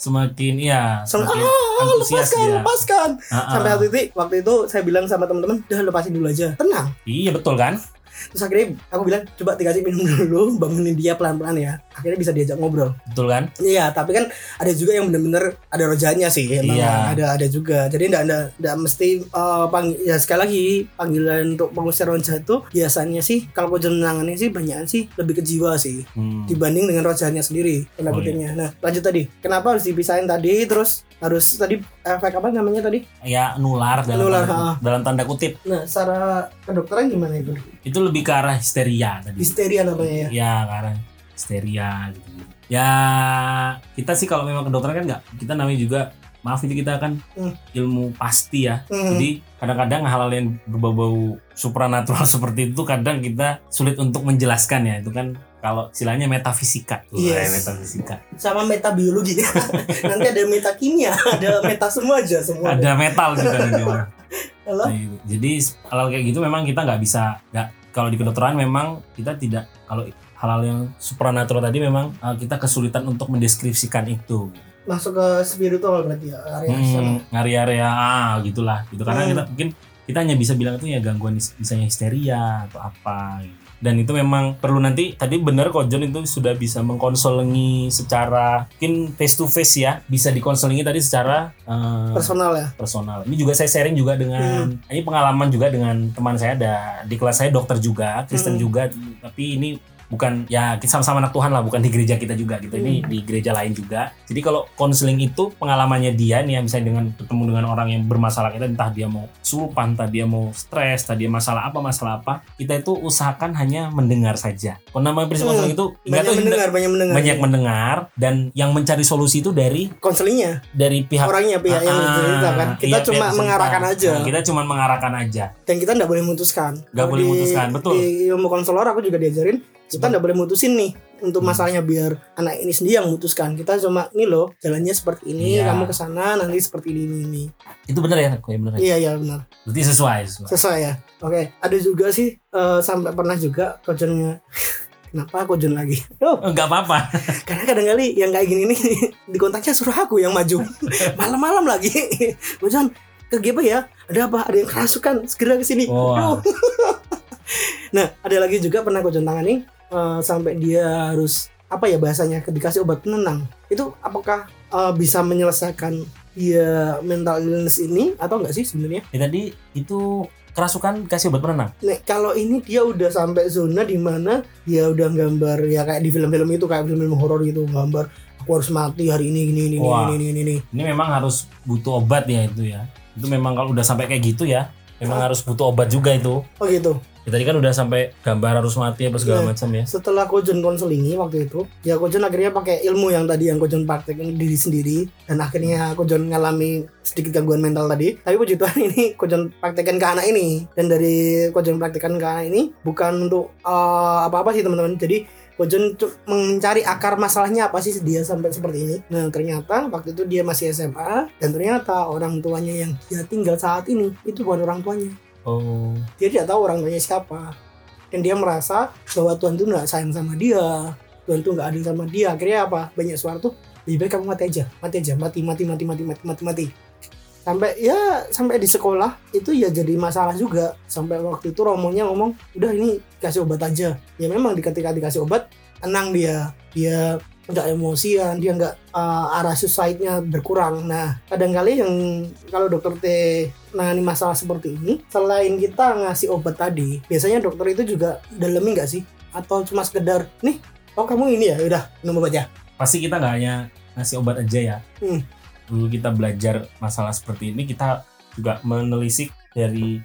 Speaker 2: Semakin ya,
Speaker 1: Semakin,
Speaker 2: semakin
Speaker 1: ah,
Speaker 2: antusias
Speaker 1: lepaskan,
Speaker 2: dia.
Speaker 1: lepaskan.
Speaker 2: Ah, ah.
Speaker 1: Sampai waktu itu waktu itu saya bilang sama teman-teman, udah lepasin dulu aja, tenang.
Speaker 2: Iya betul kan?
Speaker 1: Terus akhirnya aku bilang coba dikasih minum dulu, bangunin dia pelan-pelan ya. Akhirnya bisa diajak ngobrol.
Speaker 2: Betul kan?
Speaker 1: Iya, tapi kan ada juga yang bener-bener ada rojanya sih. Emang
Speaker 2: Iya.
Speaker 1: ada ada juga. Jadi enggak enggak, enggak mesti eh, pang- ya sekali lagi panggilan untuk pengusir roja itu biasanya sih kalau kejenangannya sih banyakan sih lebih ke jiwa sih
Speaker 2: Hmm.
Speaker 1: dibanding dengan rojanya sendiri tanda
Speaker 2: Oh,
Speaker 1: kutipnya. Nah, lanjut tadi. Kenapa harus dipisahin tadi terus harus tadi efek apa namanya tadi?
Speaker 2: Ya nular dalam
Speaker 1: Nular,
Speaker 2: tanda-
Speaker 1: ah.
Speaker 2: dalam tanda kutip.
Speaker 1: Nah, secara kedokteran gimana itu?
Speaker 2: itu lebih ke arah histeria tadi.
Speaker 1: Histeria namanya ya.
Speaker 2: Ya, ke arah histeria gitu. Ya, kita sih kalau memang kedokteran kan nggak, kita namanya juga maaf itu kita kan
Speaker 1: Hmm.
Speaker 2: ilmu pasti ya.
Speaker 1: Hmm.
Speaker 2: Jadi kadang-kadang hal-hal yang berbau-bau supranatural seperti itu kadang kita sulit untuk menjelaskan ya. Itu kan kalau istilahnya metafisika. Wah,
Speaker 1: Iya, Yes.
Speaker 2: metafisika.
Speaker 1: sama meta biologi. Nanti ada meta kimia, ada meta semua aja semua.
Speaker 2: Ada metal juga nanti. Mas.
Speaker 1: Halo?
Speaker 2: Nah, gitu. Jadi hal kayak gitu memang kita nggak bisa nggak kalau di kedokteran memang kita tidak kalau hal-hal yang supranatural tadi memang uh, kita kesulitan untuk mendeskripsikan itu
Speaker 1: masuk ke spiritual berarti ya area sana.
Speaker 2: hmm, area-area ah, gitulah gitu karena
Speaker 1: Hmm.
Speaker 2: kita mungkin kita hanya bisa bilang itu ya gangguan his- misalnya histeria atau apa gitu. dan itu memang perlu nanti tadi bener kok John itu sudah bisa mengkonselingi secara mungkin face to face ya bisa dikonselingi tadi secara eh,
Speaker 1: personal ya
Speaker 2: personal. Ini juga saya sharing juga dengan
Speaker 1: Hmm.
Speaker 2: ini pengalaman juga dengan teman saya ada di kelas saya dokter juga, Kristen
Speaker 1: Hmm.
Speaker 2: juga, tapi ini bukan ya kita sama-sama anak Tuhan lah, bukan di gereja kita juga gitu.
Speaker 1: Hmm.
Speaker 2: Ini di gereja lain juga. Jadi kalau konseling itu pengalamannya dia nih ya misalnya dengan ketemu dengan orang yang bermasalah kita entah dia mau surupan, entah dia mau stres, entah dia masalah apa masalah apa, kita itu usahakan hanya mendengar saja. Kalau namanya prinsip
Speaker 1: Hmm.
Speaker 2: konseling itu nggak
Speaker 1: banyak
Speaker 2: tahu
Speaker 1: mendengar banyak mendengar
Speaker 2: banyak mendengar dan yang mencari solusi itu dari
Speaker 1: konselingnya
Speaker 2: dari pihak
Speaker 1: orangnya pihak yang
Speaker 2: Ah,
Speaker 1: bercerita kan kita
Speaker 2: iya,
Speaker 1: cuma
Speaker 2: pihak
Speaker 1: mengarahkan
Speaker 2: peserta.
Speaker 1: aja
Speaker 2: Nah, kita cuma mengarahkan aja.
Speaker 1: dan kita nggak boleh memutuskan
Speaker 2: Nggak
Speaker 1: Kalau
Speaker 2: boleh
Speaker 1: di-
Speaker 2: memutuskan, betul.
Speaker 1: di ilmu konselor aku juga diajarin kita
Speaker 2: Betul.
Speaker 1: nggak boleh mutusin nih untuk
Speaker 2: Hmm.
Speaker 1: masalahnya biar anak ini sendiri yang memutuskan kita cuma ini loh jalannya seperti ini
Speaker 2: Iya.
Speaker 1: kamu ke sana nanti seperti ini ini, ini.
Speaker 2: Itu benar ya, kok benar. Ya?
Speaker 1: iya iya benar
Speaker 2: Berarti sesuai, sesuai.
Speaker 1: sesuai ya oke ada juga sih eh, sampai pernah juga kojonnya kenapa kojon lagi oh
Speaker 2: Enggak apa-apa.
Speaker 1: karena kadang kali yang kayak gini nih dikontaknya suruh aku yang maju malam-malam lagi Bosan ke GP ya ada apa ada yang kerasukan segera ke sini
Speaker 2: Wah.
Speaker 1: Aduh. nah ada lagi juga pernah aku tangani eh, sampai dia harus apa ya bahasanya dikasih obat penenang itu apakah eh, bisa menyelesaikan dia mental illness ini atau enggak sih sebenarnya
Speaker 2: Ya, tadi itu kerasukan kasih obat penenang.
Speaker 1: Nih, kalau ini dia udah sampai zona di mana dia udah gambar ya kayak di film-film itu kayak film-film horor gitu gambar aku harus mati hari ini ini ini ini,
Speaker 2: Wah.
Speaker 1: ini ini ini, ini.
Speaker 2: Ini memang harus butuh obat ya itu ya. Itu memang kalau udah sampai kayak gitu ya, memang harus butuh obat juga itu.
Speaker 1: Oh gitu.
Speaker 2: Ya, tadi kan udah sampai gambar harus mati apa segala
Speaker 1: Iya.
Speaker 2: macam ya.
Speaker 1: Setelah Kojon konselingi waktu itu, ya Kojon akhirnya pakai ilmu yang tadi yang Kojon praktekin diri sendiri dan akhirnya Kojon ngalami sedikit gangguan mental tadi. Tapi puji Tuhan ini Kojon praktekin ke anak ini dan dari Kojon praktekin ke anak ini bukan untuk eh, apa-apa sih teman-teman. Jadi Kojon cu- mencari akar masalahnya apa sih dia sampai seperti ini. Nah ternyata waktu itu dia masih SMA dan ternyata orang tuanya yang dia tinggal saat ini itu bukan orang tuanya.
Speaker 2: Oh.
Speaker 1: Dia tidak tahu orang tuanya siapa. dan dia merasa bahwa Tuhan tuh nggak sayang sama dia Tuhan tuh nggak adil sama dia akhirnya apa banyak suara tuh lebih baik kamu mati aja mati aja mati mati mati mati mati mati mati sampai ya sampai di sekolah itu ya jadi masalah juga sampai waktu itu romonya ngomong udah ini kasih obat aja ya memang di ketika dikasih obat tenang dia dia nggak emosian dia nggak uh, arah suicide-nya berkurang nah kadangkali yang kalau dokter T menangani masalah seperti ini selain kita ngasih obat tadi biasanya dokter itu juga dalemi nggak sih atau cuma sekedar nih oh kamu ini ya udah minum obat ya
Speaker 2: pasti kita nggak hanya ngasih obat aja ya
Speaker 1: Hmm.
Speaker 2: dulu kita belajar masalah seperti ini kita juga menelisik dari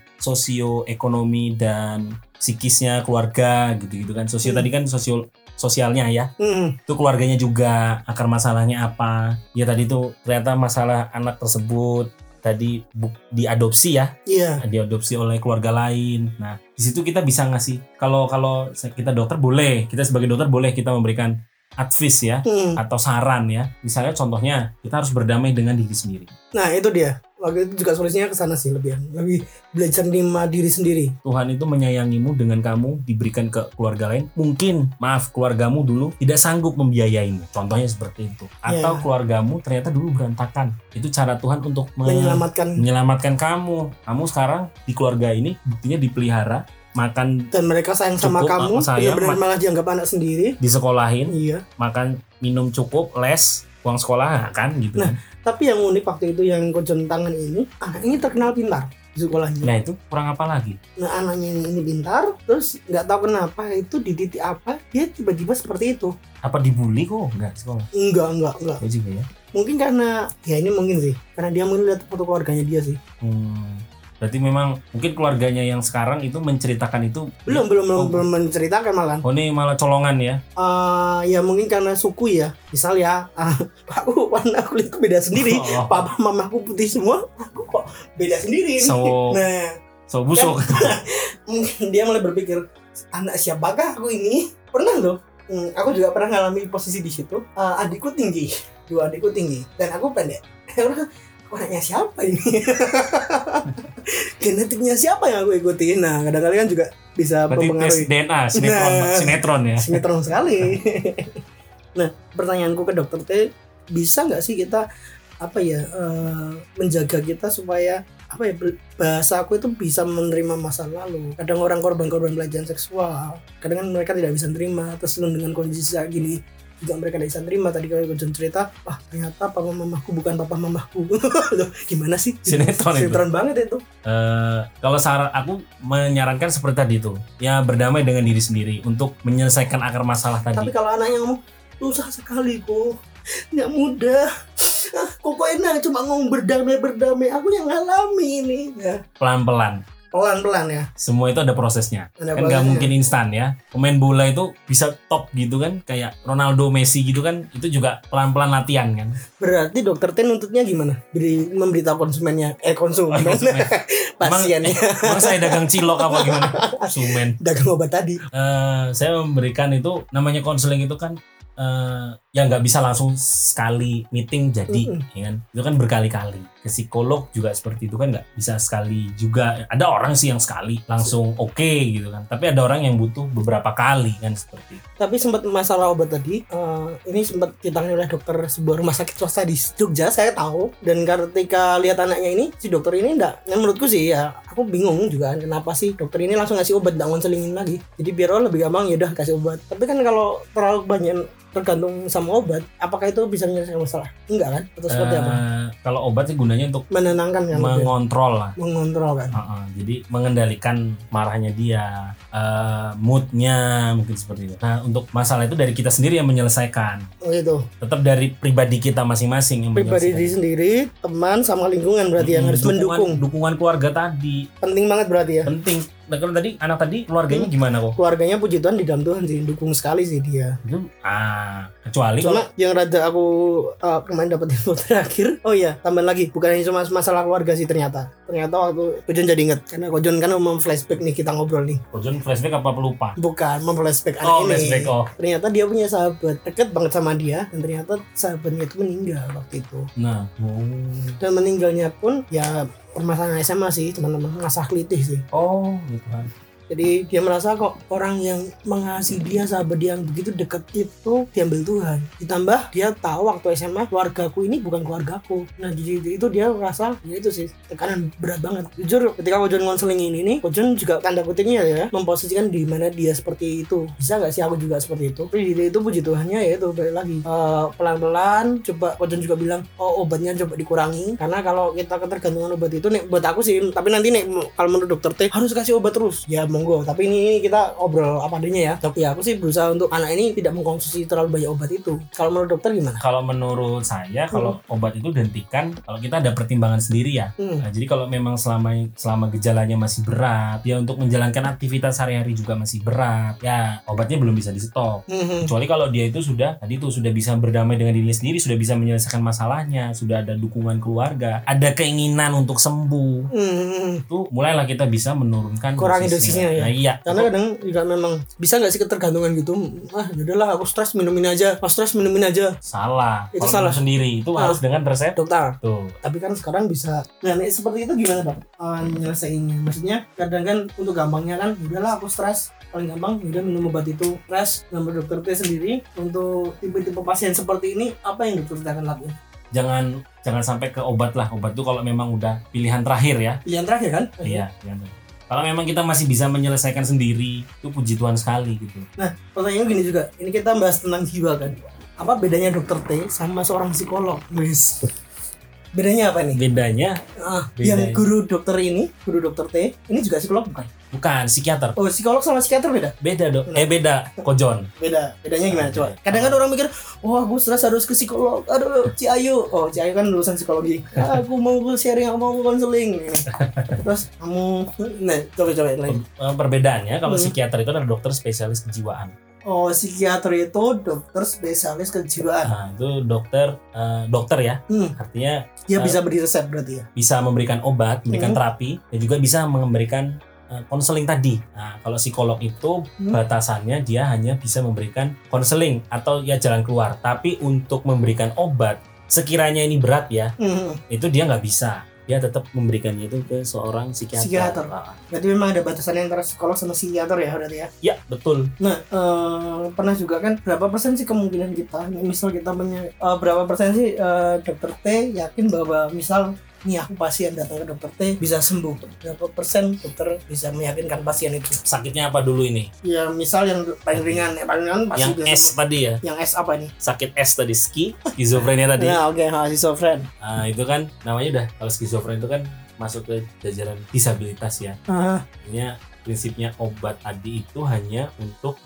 Speaker 2: sosioekonomi dan psikisnya keluarga gitu gitu kan sosio
Speaker 1: Hmm.
Speaker 2: tadi kan sosio sosialnya ya
Speaker 1: Hmm,
Speaker 2: itu keluarganya juga akar masalahnya apa ya tadi tuh ternyata masalah anak tersebut tadi bu- diadopsi ya
Speaker 1: iya
Speaker 2: diadopsi oleh keluarga lain nah di situ kita bisa ngasih kalau kalau se- kita dokter boleh kita sebagai dokter boleh kita memberikan advice ya
Speaker 1: Hmm.
Speaker 2: atau saran ya misalnya contohnya kita harus berdamai dengan diri sendiri
Speaker 1: nah itu dia waktu itu juga solusinya ke sana sih lebih lebih belajar menerima diri sendiri
Speaker 2: Tuhan itu menyayangimu dengan kamu diberikan ke keluarga lain. Mungkin, maaf, keluargamu dulu tidak sanggup membiayaimu. Contohnya seperti itu.
Speaker 1: Ya.
Speaker 2: Atau keluargamu ternyata dulu berantakan. Itu cara Tuhan untuk me-
Speaker 1: menyelamatkan
Speaker 2: menyelamatkan kamu. Kamu sekarang di keluarga ini buktinya dipelihara, makan
Speaker 1: dan mereka sayang sama
Speaker 2: Cukup,
Speaker 1: kamu
Speaker 2: aku
Speaker 1: ya
Speaker 2: sayang,
Speaker 1: benar
Speaker 2: Mat.
Speaker 1: malah dianggap anak sendiri
Speaker 2: disekolahin,
Speaker 1: iya
Speaker 2: makan minum cukup, les, uang sekolah nah, kan gitu.
Speaker 1: Nah.
Speaker 2: kan.
Speaker 1: Tapi yang unik waktu itu yang kojon tangan ini, anak ini terkenal pintar di sekolahnya.
Speaker 2: Nah, itu kurang apa lagi?
Speaker 1: Nah anaknya ini, ini pintar, terus nggak tahu kenapa itu di titik apa dia tiba-tiba seperti itu.
Speaker 2: Apa dibully kok enggak sekolah?
Speaker 1: Enggak enggak enggak.
Speaker 2: Ya juga ya.
Speaker 1: Mungkin karena ya ini mungkin sih, karena dia melihat foto keluarganya dia sih.
Speaker 2: Hmm. Berarti memang mungkin keluarganya yang sekarang itu menceritakan itu
Speaker 1: Belum belum belum,
Speaker 2: Oh.
Speaker 1: belum menceritakan malah.
Speaker 2: Oh ini malah colongan ya?
Speaker 1: Eh, ya mungkin karena suku ya. Misal ya, ah, aku warna kulitku beda sendiri.
Speaker 2: Oh,
Speaker 1: Papa mamaku putih semua, aku kok beda sendiri. nih.
Speaker 2: so,
Speaker 1: Nah,
Speaker 2: so busuk.
Speaker 1: mungkin dia mulai berpikir anak siapakah aku ini pernah loh Hmm, aku juga pernah ngalami posisi di situ Eh, adikku tinggi dua adikku tinggi dan aku pendek Orang, aku anaknya siapa ini genetiknya siapa yang aku ikuti nah kadang-kadang kan juga bisa
Speaker 2: Berarti tes
Speaker 1: mempengaruhi
Speaker 2: DNA sinetron,
Speaker 1: Nah.
Speaker 2: sinetron ya.
Speaker 1: sinetron sekali nah pertanyaanku ke dokter T bisa nggak sih kita apa ya eh, menjaga kita supaya apa ya bel- bahasa aku itu bisa menerima masa lalu kadang orang korban-korban pelecehan seksual kadang kan mereka tidak bisa menerima terus lu dengan kondisi kayak gini juga mereka tidak bisa terima tadi kalau John cerita wah ternyata papa mamaku bukan papa mamaku Loh, gimana sih
Speaker 2: Sinetron itu.
Speaker 1: sinetron banget itu
Speaker 2: Eh, kalau saran aku menyarankan seperti tadi tuh, ya berdamai dengan diri sendiri untuk menyelesaikan akar masalah
Speaker 1: Tapi
Speaker 2: tadi.
Speaker 1: kalau anaknya ngomong susah sekali kok, nggak mudah. Ah, Kok kok enak cuma ngomong berdamai berdamai. Aku yang ngalami ini. Ya,
Speaker 2: Pelan-pelan.
Speaker 1: pelan pelan ya.
Speaker 2: Semua itu ada prosesnya.
Speaker 1: Ada
Speaker 2: Kan nggak
Speaker 1: prosesnya.
Speaker 2: mungkin instan ya. Pemain bola itu bisa top gitu kan, kayak Ronaldo, Messi gitu kan, itu juga pelan-pelan latihan kan.
Speaker 1: Berarti dokter Ten nuntutnya gimana? Beri memberitahu konsumennya, eh konsumen, pasiennya
Speaker 2: Emang saya dagang cilok apa gimana? Sumen.
Speaker 1: dagang obat tadi.
Speaker 2: eh saya memberikan itu namanya konseling itu kan eh ya nggak bisa langsung sekali meeting jadi
Speaker 1: Mm-mm.
Speaker 2: ya kan itu kan berkali-kali ke psikolog juga seperti itu kan nggak bisa sekali juga ada orang sih yang sekali langsung oke gitu kan tapi ada orang yang butuh beberapa kali kan seperti itu.
Speaker 1: Tapi sempat masalah obat tadi, eh, ini sempat ditangani oleh dokter sebuah rumah sakit swasta di Jogja, saya tahu. Dan ketika lihat anaknya ini, si dokter ini enggak, yang menurutku sih ya, aku bingung juga kenapa sih dokter ini langsung ngasih obat, enggak ngonselingin lagi. Jadi biar orang lebih gampang, yaudah kasih obat. Tapi kan kalau terlalu banyak tergantung sama obat, apakah itu bisa menyelesaikan masalah? Enggak kan? Atau seperti apa?
Speaker 2: Eh, kalau obat sih gunanya untuk
Speaker 1: Menenangkan kan? lebih.
Speaker 2: mengontrol lah
Speaker 1: Mengontrol kan?
Speaker 2: Heeh, jadi mengendalikan marahnya dia, eh, moodnya mungkin seperti itu. Nah untuk masalah itu dari kita sendiri yang menyelesaikan.
Speaker 1: Oh, Gitu.
Speaker 2: tetap dari pribadi kita masing-masing yang
Speaker 1: Pribadi diri
Speaker 2: menyelesaikan.
Speaker 1: sendiri, teman, sama lingkungan berarti yang
Speaker 2: Mm,
Speaker 1: harus
Speaker 2: dukungan-
Speaker 1: mendukung.
Speaker 2: dukungan keluarga tadi
Speaker 1: Penting banget berarti ya.
Speaker 2: penting nah kalau tadi anak tadi keluarganya gimana kok
Speaker 1: keluarganya puji Tuhan di dalam Tuhan sih dukung sekali sih dia
Speaker 2: itu ah kecuali kalau
Speaker 1: cuma yang rada aku uh, kemarin dapat info terakhir oh iya tambahan lagi bukan hanya cuma masalah keluarga sih ternyata ternyata waktu Kojon jadi inget karena Kojon kan mau flashback nih kita ngobrol nih
Speaker 2: Kojon flashback apa pelupa
Speaker 1: bukan mau flashback anak
Speaker 2: oh
Speaker 1: ini
Speaker 2: flashback oh
Speaker 1: ternyata dia punya sahabat deket banget sama dia dan ternyata sahabatnya itu meninggal waktu itu
Speaker 2: nah oh,
Speaker 1: dan meninggalnya pun ya permasalahan SMA sih teman-teman ngasah kelitih sih
Speaker 2: oh gitu kan
Speaker 1: Jadi dia merasa kok orang yang mengasihi dia, sahabat dia yang begitu deket itu diambil Tuhan. Ditambah dia tahu waktu SMA keluargaku ini bukan keluargaku. Nah jadi itu- itu dia merasa ya itu sih tekanan berat banget. Jujur ketika Kojon konseling ini nih, Kojon juga tanda kutipnya ya memposisikan di mana dia seperti itu. Bisa nggak sih aku juga seperti itu? Tapi itu puji Tuhannya ya itu balik lagi Eh, pelan-pelan coba Kojon juga bilang oh obatnya coba dikurangi karena kalau kita ketergantungan obat itu nih buat aku sih tapi nanti nih m- kalau menurut dokter T harus kasih obat terus ya monggo tapi ini, ini kita obrol apa adanya ya tapi aku sih berusaha untuk anak ini tidak mengkonsumsi terlalu banyak obat itu kalau menurut dokter gimana
Speaker 2: Kalau menurut saya kalau obat itu dihentikan kalau kita ada pertimbangan sendiri ya.
Speaker 1: hmm.
Speaker 2: Nah, jadi kalau memang selama selama gejalanya masih berat, ya untuk menjalankan aktivitas sehari-hari juga masih berat, ya obatnya belum bisa di stop.
Speaker 1: Hmm.
Speaker 2: Kecuali kalau dia itu sudah tadi itu sudah bisa berdamai dengan dirinya sendiri, sudah bisa menyelesaikan masalahnya, sudah ada dukungan keluarga, ada keinginan untuk sembuh,
Speaker 1: Hmm.
Speaker 2: itu mulailah kita bisa menurunkan
Speaker 1: Kurangi dosisnya, ya.
Speaker 2: Nah, iya.
Speaker 1: karena kadang juga memang bisa nggak sih ketergantungan gitu ah yaudahlah aku stres minumin aja aku stres minumin aja
Speaker 2: salah.
Speaker 1: Itu
Speaker 2: Kalau
Speaker 1: salah.
Speaker 2: minum sendiri itu
Speaker 1: Ah.
Speaker 2: harus dengan resep.
Speaker 1: dokter
Speaker 2: Tuh.
Speaker 1: tapi kan sekarang bisa nah nih, seperti itu gimana dok Eh, nyelesainnya maksudnya kadang kan untuk gampangnya kan udahlah aku stres paling gampang udah minum obat itu stres nomor dokter T sendiri untuk tipe-tipe pasien seperti ini apa yang dokter T akan lakukan
Speaker 2: Jangan jangan sampai ke obat lah. Obat itu kalau memang udah pilihan terakhir ya.
Speaker 1: pilihan terakhir kan
Speaker 2: Iya, pilihan terakhir. Kalau memang kita masih bisa menyelesaikan sendiri, itu puji Tuhan sekali gitu.
Speaker 1: pertanyaannya gini juga ini kita bahas tentang jiwa kan apa bedanya dokter T sama seorang psikolog Wis. bedanya apa nih
Speaker 2: Bedanya
Speaker 1: Ah,
Speaker 2: Bedanya.
Speaker 1: yang guru dokter ini guru dokter T ini juga psikolog bukan
Speaker 2: bukan psikiater,
Speaker 1: oh psikolog sama psikiater beda
Speaker 2: beda dok. Eh beda, kojon.
Speaker 1: beda bedanya gimana coba kadang kan orang mikir wah aku stres harus ke psikolog aduh Ciayu oh Ciayu kan lulusan psikologi "Ah, aku mau gue sharing aku mau gue konseling terus kamu nah coba coba yang lain
Speaker 2: Eh, Perbedaannya kalau
Speaker 1: Hmm.
Speaker 2: psikiater itu ada dokter spesialis kejiwaan.
Speaker 1: oh psikiater itu dokter spesialis kejiwaan
Speaker 2: Nah, itu dokter eh, dokter ya.
Speaker 1: Hmm.
Speaker 2: Artinya
Speaker 1: dia bisa beri resep berarti ya
Speaker 2: bisa memberikan obat, memberikan
Speaker 1: Hmm.
Speaker 2: terapi dan juga bisa memberikan eh, konseling tadi. Nah, kalau psikolog itu
Speaker 1: Hmm.
Speaker 2: batasannya dia hanya bisa memberikan konseling atau ya jalan keluar. Tapi untuk memberikan obat sekiranya ini berat ya,
Speaker 1: Hmm.
Speaker 2: itu dia nggak bisa. Dia tetap memberikannya itu ke seorang psikiater.
Speaker 1: Psikiater.
Speaker 2: Ah,
Speaker 1: berarti memang ada batasannya antara psikolog sama psikiater ya berarti ya
Speaker 2: Ya, betul.
Speaker 1: nah eh, pernah juga kan berapa persen sih kemungkinan kita misal kita punya eh, berapa persen sih eh, dokter T yakin bahwa misal nih aku pasien datang ke dokter T bisa sembuh berapa persen dokter bisa meyakinkan pasien itu
Speaker 2: Sakitnya apa dulu ini?
Speaker 1: ya misal yang paling ringan yang paling ringan pasti
Speaker 2: Yang
Speaker 1: bisa
Speaker 2: S
Speaker 1: sembuh.
Speaker 2: tadi ya.
Speaker 1: yang S apa nih
Speaker 2: Sakit S tadi ski, skizofrenia tadi.
Speaker 1: nah oke okay, schizofren
Speaker 2: Ah, itu kan namanya udah kalau skizofren itu kan masuk ke jajaran disabilitas ya.
Speaker 1: Ah,
Speaker 2: Artinya prinsipnya obat tadi itu hanya untuk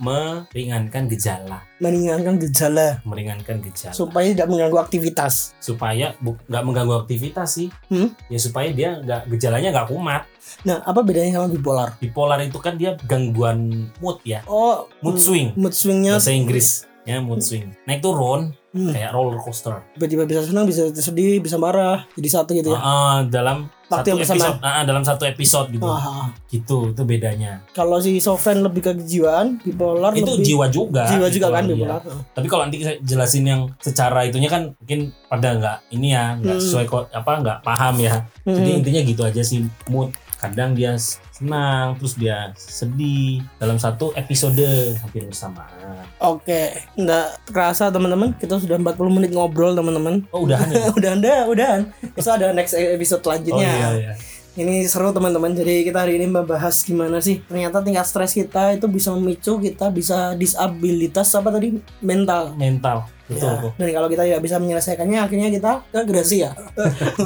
Speaker 2: meringankan gejala,
Speaker 1: meringankan gejala
Speaker 2: meringankan gejala
Speaker 1: supaya tidak mengganggu aktivitas
Speaker 2: supaya bu- nggak mengganggu aktivitas sih.
Speaker 1: Hmm?
Speaker 2: Ya supaya dia nggak gejalanya nggak kumat.
Speaker 1: nah apa bedanya sama bipolar
Speaker 2: Bipolar itu kan dia gangguan mood ya,
Speaker 1: oh
Speaker 2: mood
Speaker 1: hmm,
Speaker 2: swing.
Speaker 1: mood swingnya
Speaker 2: Bahasa Inggris ya mood swing. Naik turun
Speaker 1: Hmm.
Speaker 2: kayak roller coaster.
Speaker 1: tiba-tiba bisa senang bisa sedih bisa marah jadi satu gitu ya
Speaker 2: Ah, ah, dalam
Speaker 1: Waktu
Speaker 2: satu
Speaker 1: yang bersamaan.
Speaker 2: episode, ah, ah, dalam satu episode gitu.
Speaker 1: Ah,
Speaker 2: Gitu itu bedanya.
Speaker 1: kalau si Soven lebih ke kejiwaan bipolar
Speaker 2: itu
Speaker 1: lebih
Speaker 2: jiwa juga.
Speaker 1: jiwa juga
Speaker 2: gitu,
Speaker 1: kan
Speaker 2: iya.
Speaker 1: bipolar
Speaker 2: tapi kalau nanti saya jelasin yang secara itunya kan mungkin pada nggak ini ya nggak
Speaker 1: Hmm.
Speaker 2: sesuai ko- apa nggak paham ya jadi
Speaker 1: Hmm.
Speaker 2: intinya gitu aja sih mood kadang dia s- senang terus dia sedih dalam satu episode hampir bersamaan
Speaker 1: Oke, nggak kerasa teman-teman, kita sudah 40 menit ngobrol teman-teman.
Speaker 2: oh udahan ya
Speaker 1: udah anda, udahan. Besok ada next e- episode
Speaker 2: oh
Speaker 1: selanjutnya.
Speaker 2: iya iya
Speaker 1: Ini seru teman-teman. Jadi kita hari ini membahas gimana sih ternyata tingkat stres kita itu bisa memicu kita bisa disabilitas apa tadi mental.
Speaker 2: mental betul
Speaker 1: Ya.
Speaker 2: kok
Speaker 1: Dan kalau kita tidak bisa menyelesaikannya, akhirnya kita ke gerasi ya.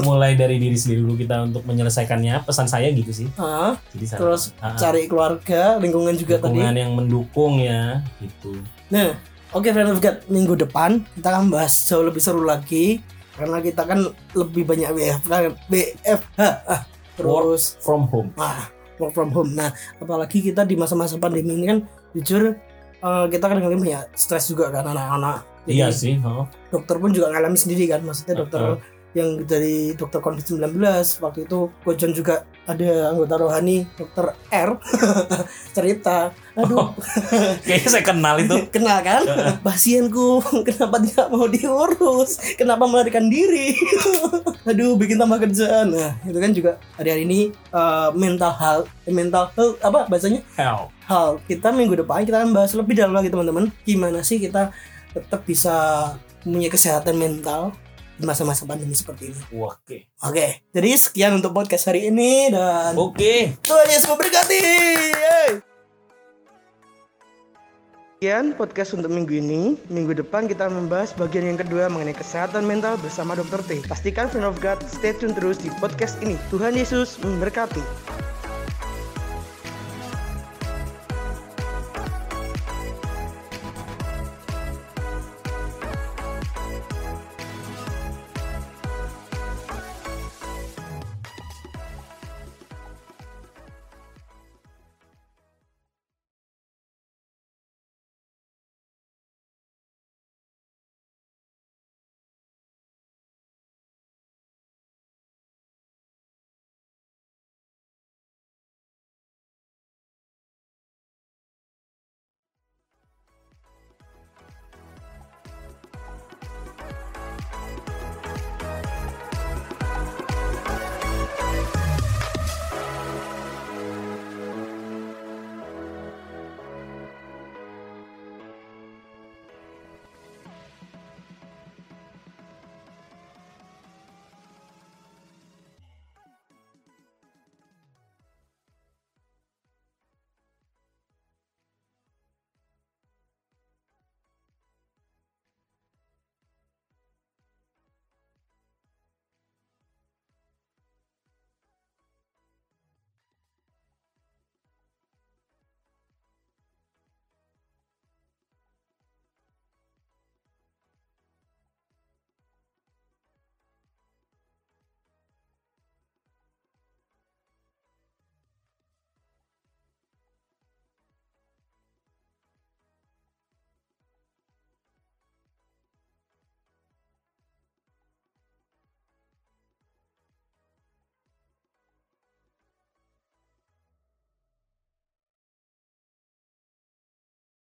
Speaker 2: mulai dari diri sendiri dulu kita untuk menyelesaikannya pesan saya gitu sih
Speaker 1: Ah,
Speaker 2: jadi saya-
Speaker 1: terus
Speaker 2: Ah, ah.
Speaker 1: cari keluarga, lingkungan juga tadi.
Speaker 2: dukungan yang mendukung ya gitu
Speaker 1: Nah, oke Friend of God, minggu depan kita akan bahas jauh lebih seru lagi karena kita kan lebih banyak WFH, WFH ah, terus
Speaker 2: from home
Speaker 1: wah, work from home. Nah, apalagi kita di masa-masa pandemi ini kan jujur eh, kita kadang-kadang banyak stres juga kan anak-anak. Jadi,
Speaker 2: iya sih oh.
Speaker 1: Dokter pun juga ngalami sendiri kan, maksudnya dokter
Speaker 2: Uh-uh.
Speaker 1: yang dari dokter covid 19 waktu itu Gojon juga ada anggota rohani dokter R cerita aduh
Speaker 2: Kayaknya saya kenal itu.
Speaker 1: kenal kan pasienku kenapa tidak mau diurus kenapa melarikan diri aduh bikin tambah kerjaan nah itu kan juga hari-hari ini eh, mental health mental health apa bahasanya
Speaker 2: Hell.
Speaker 1: hal kita minggu depan kita akan bahas lebih dalam lagi teman-teman gimana sih kita tetap bisa punya kesehatan mental di masa-masa pandemi seperti ini
Speaker 2: Wah, Oke.
Speaker 1: oke jadi sekian untuk podcast hari ini dan
Speaker 2: Oke.
Speaker 1: Tuhan Yesus memberkati Yeay. Sekian podcast untuk minggu ini. Minggu depan kita membahas bagian yang kedua mengenai kesehatan mental bersama Dr. T. Pastikan friend of God stay tune terus di podcast ini. Tuhan Yesus memberkati.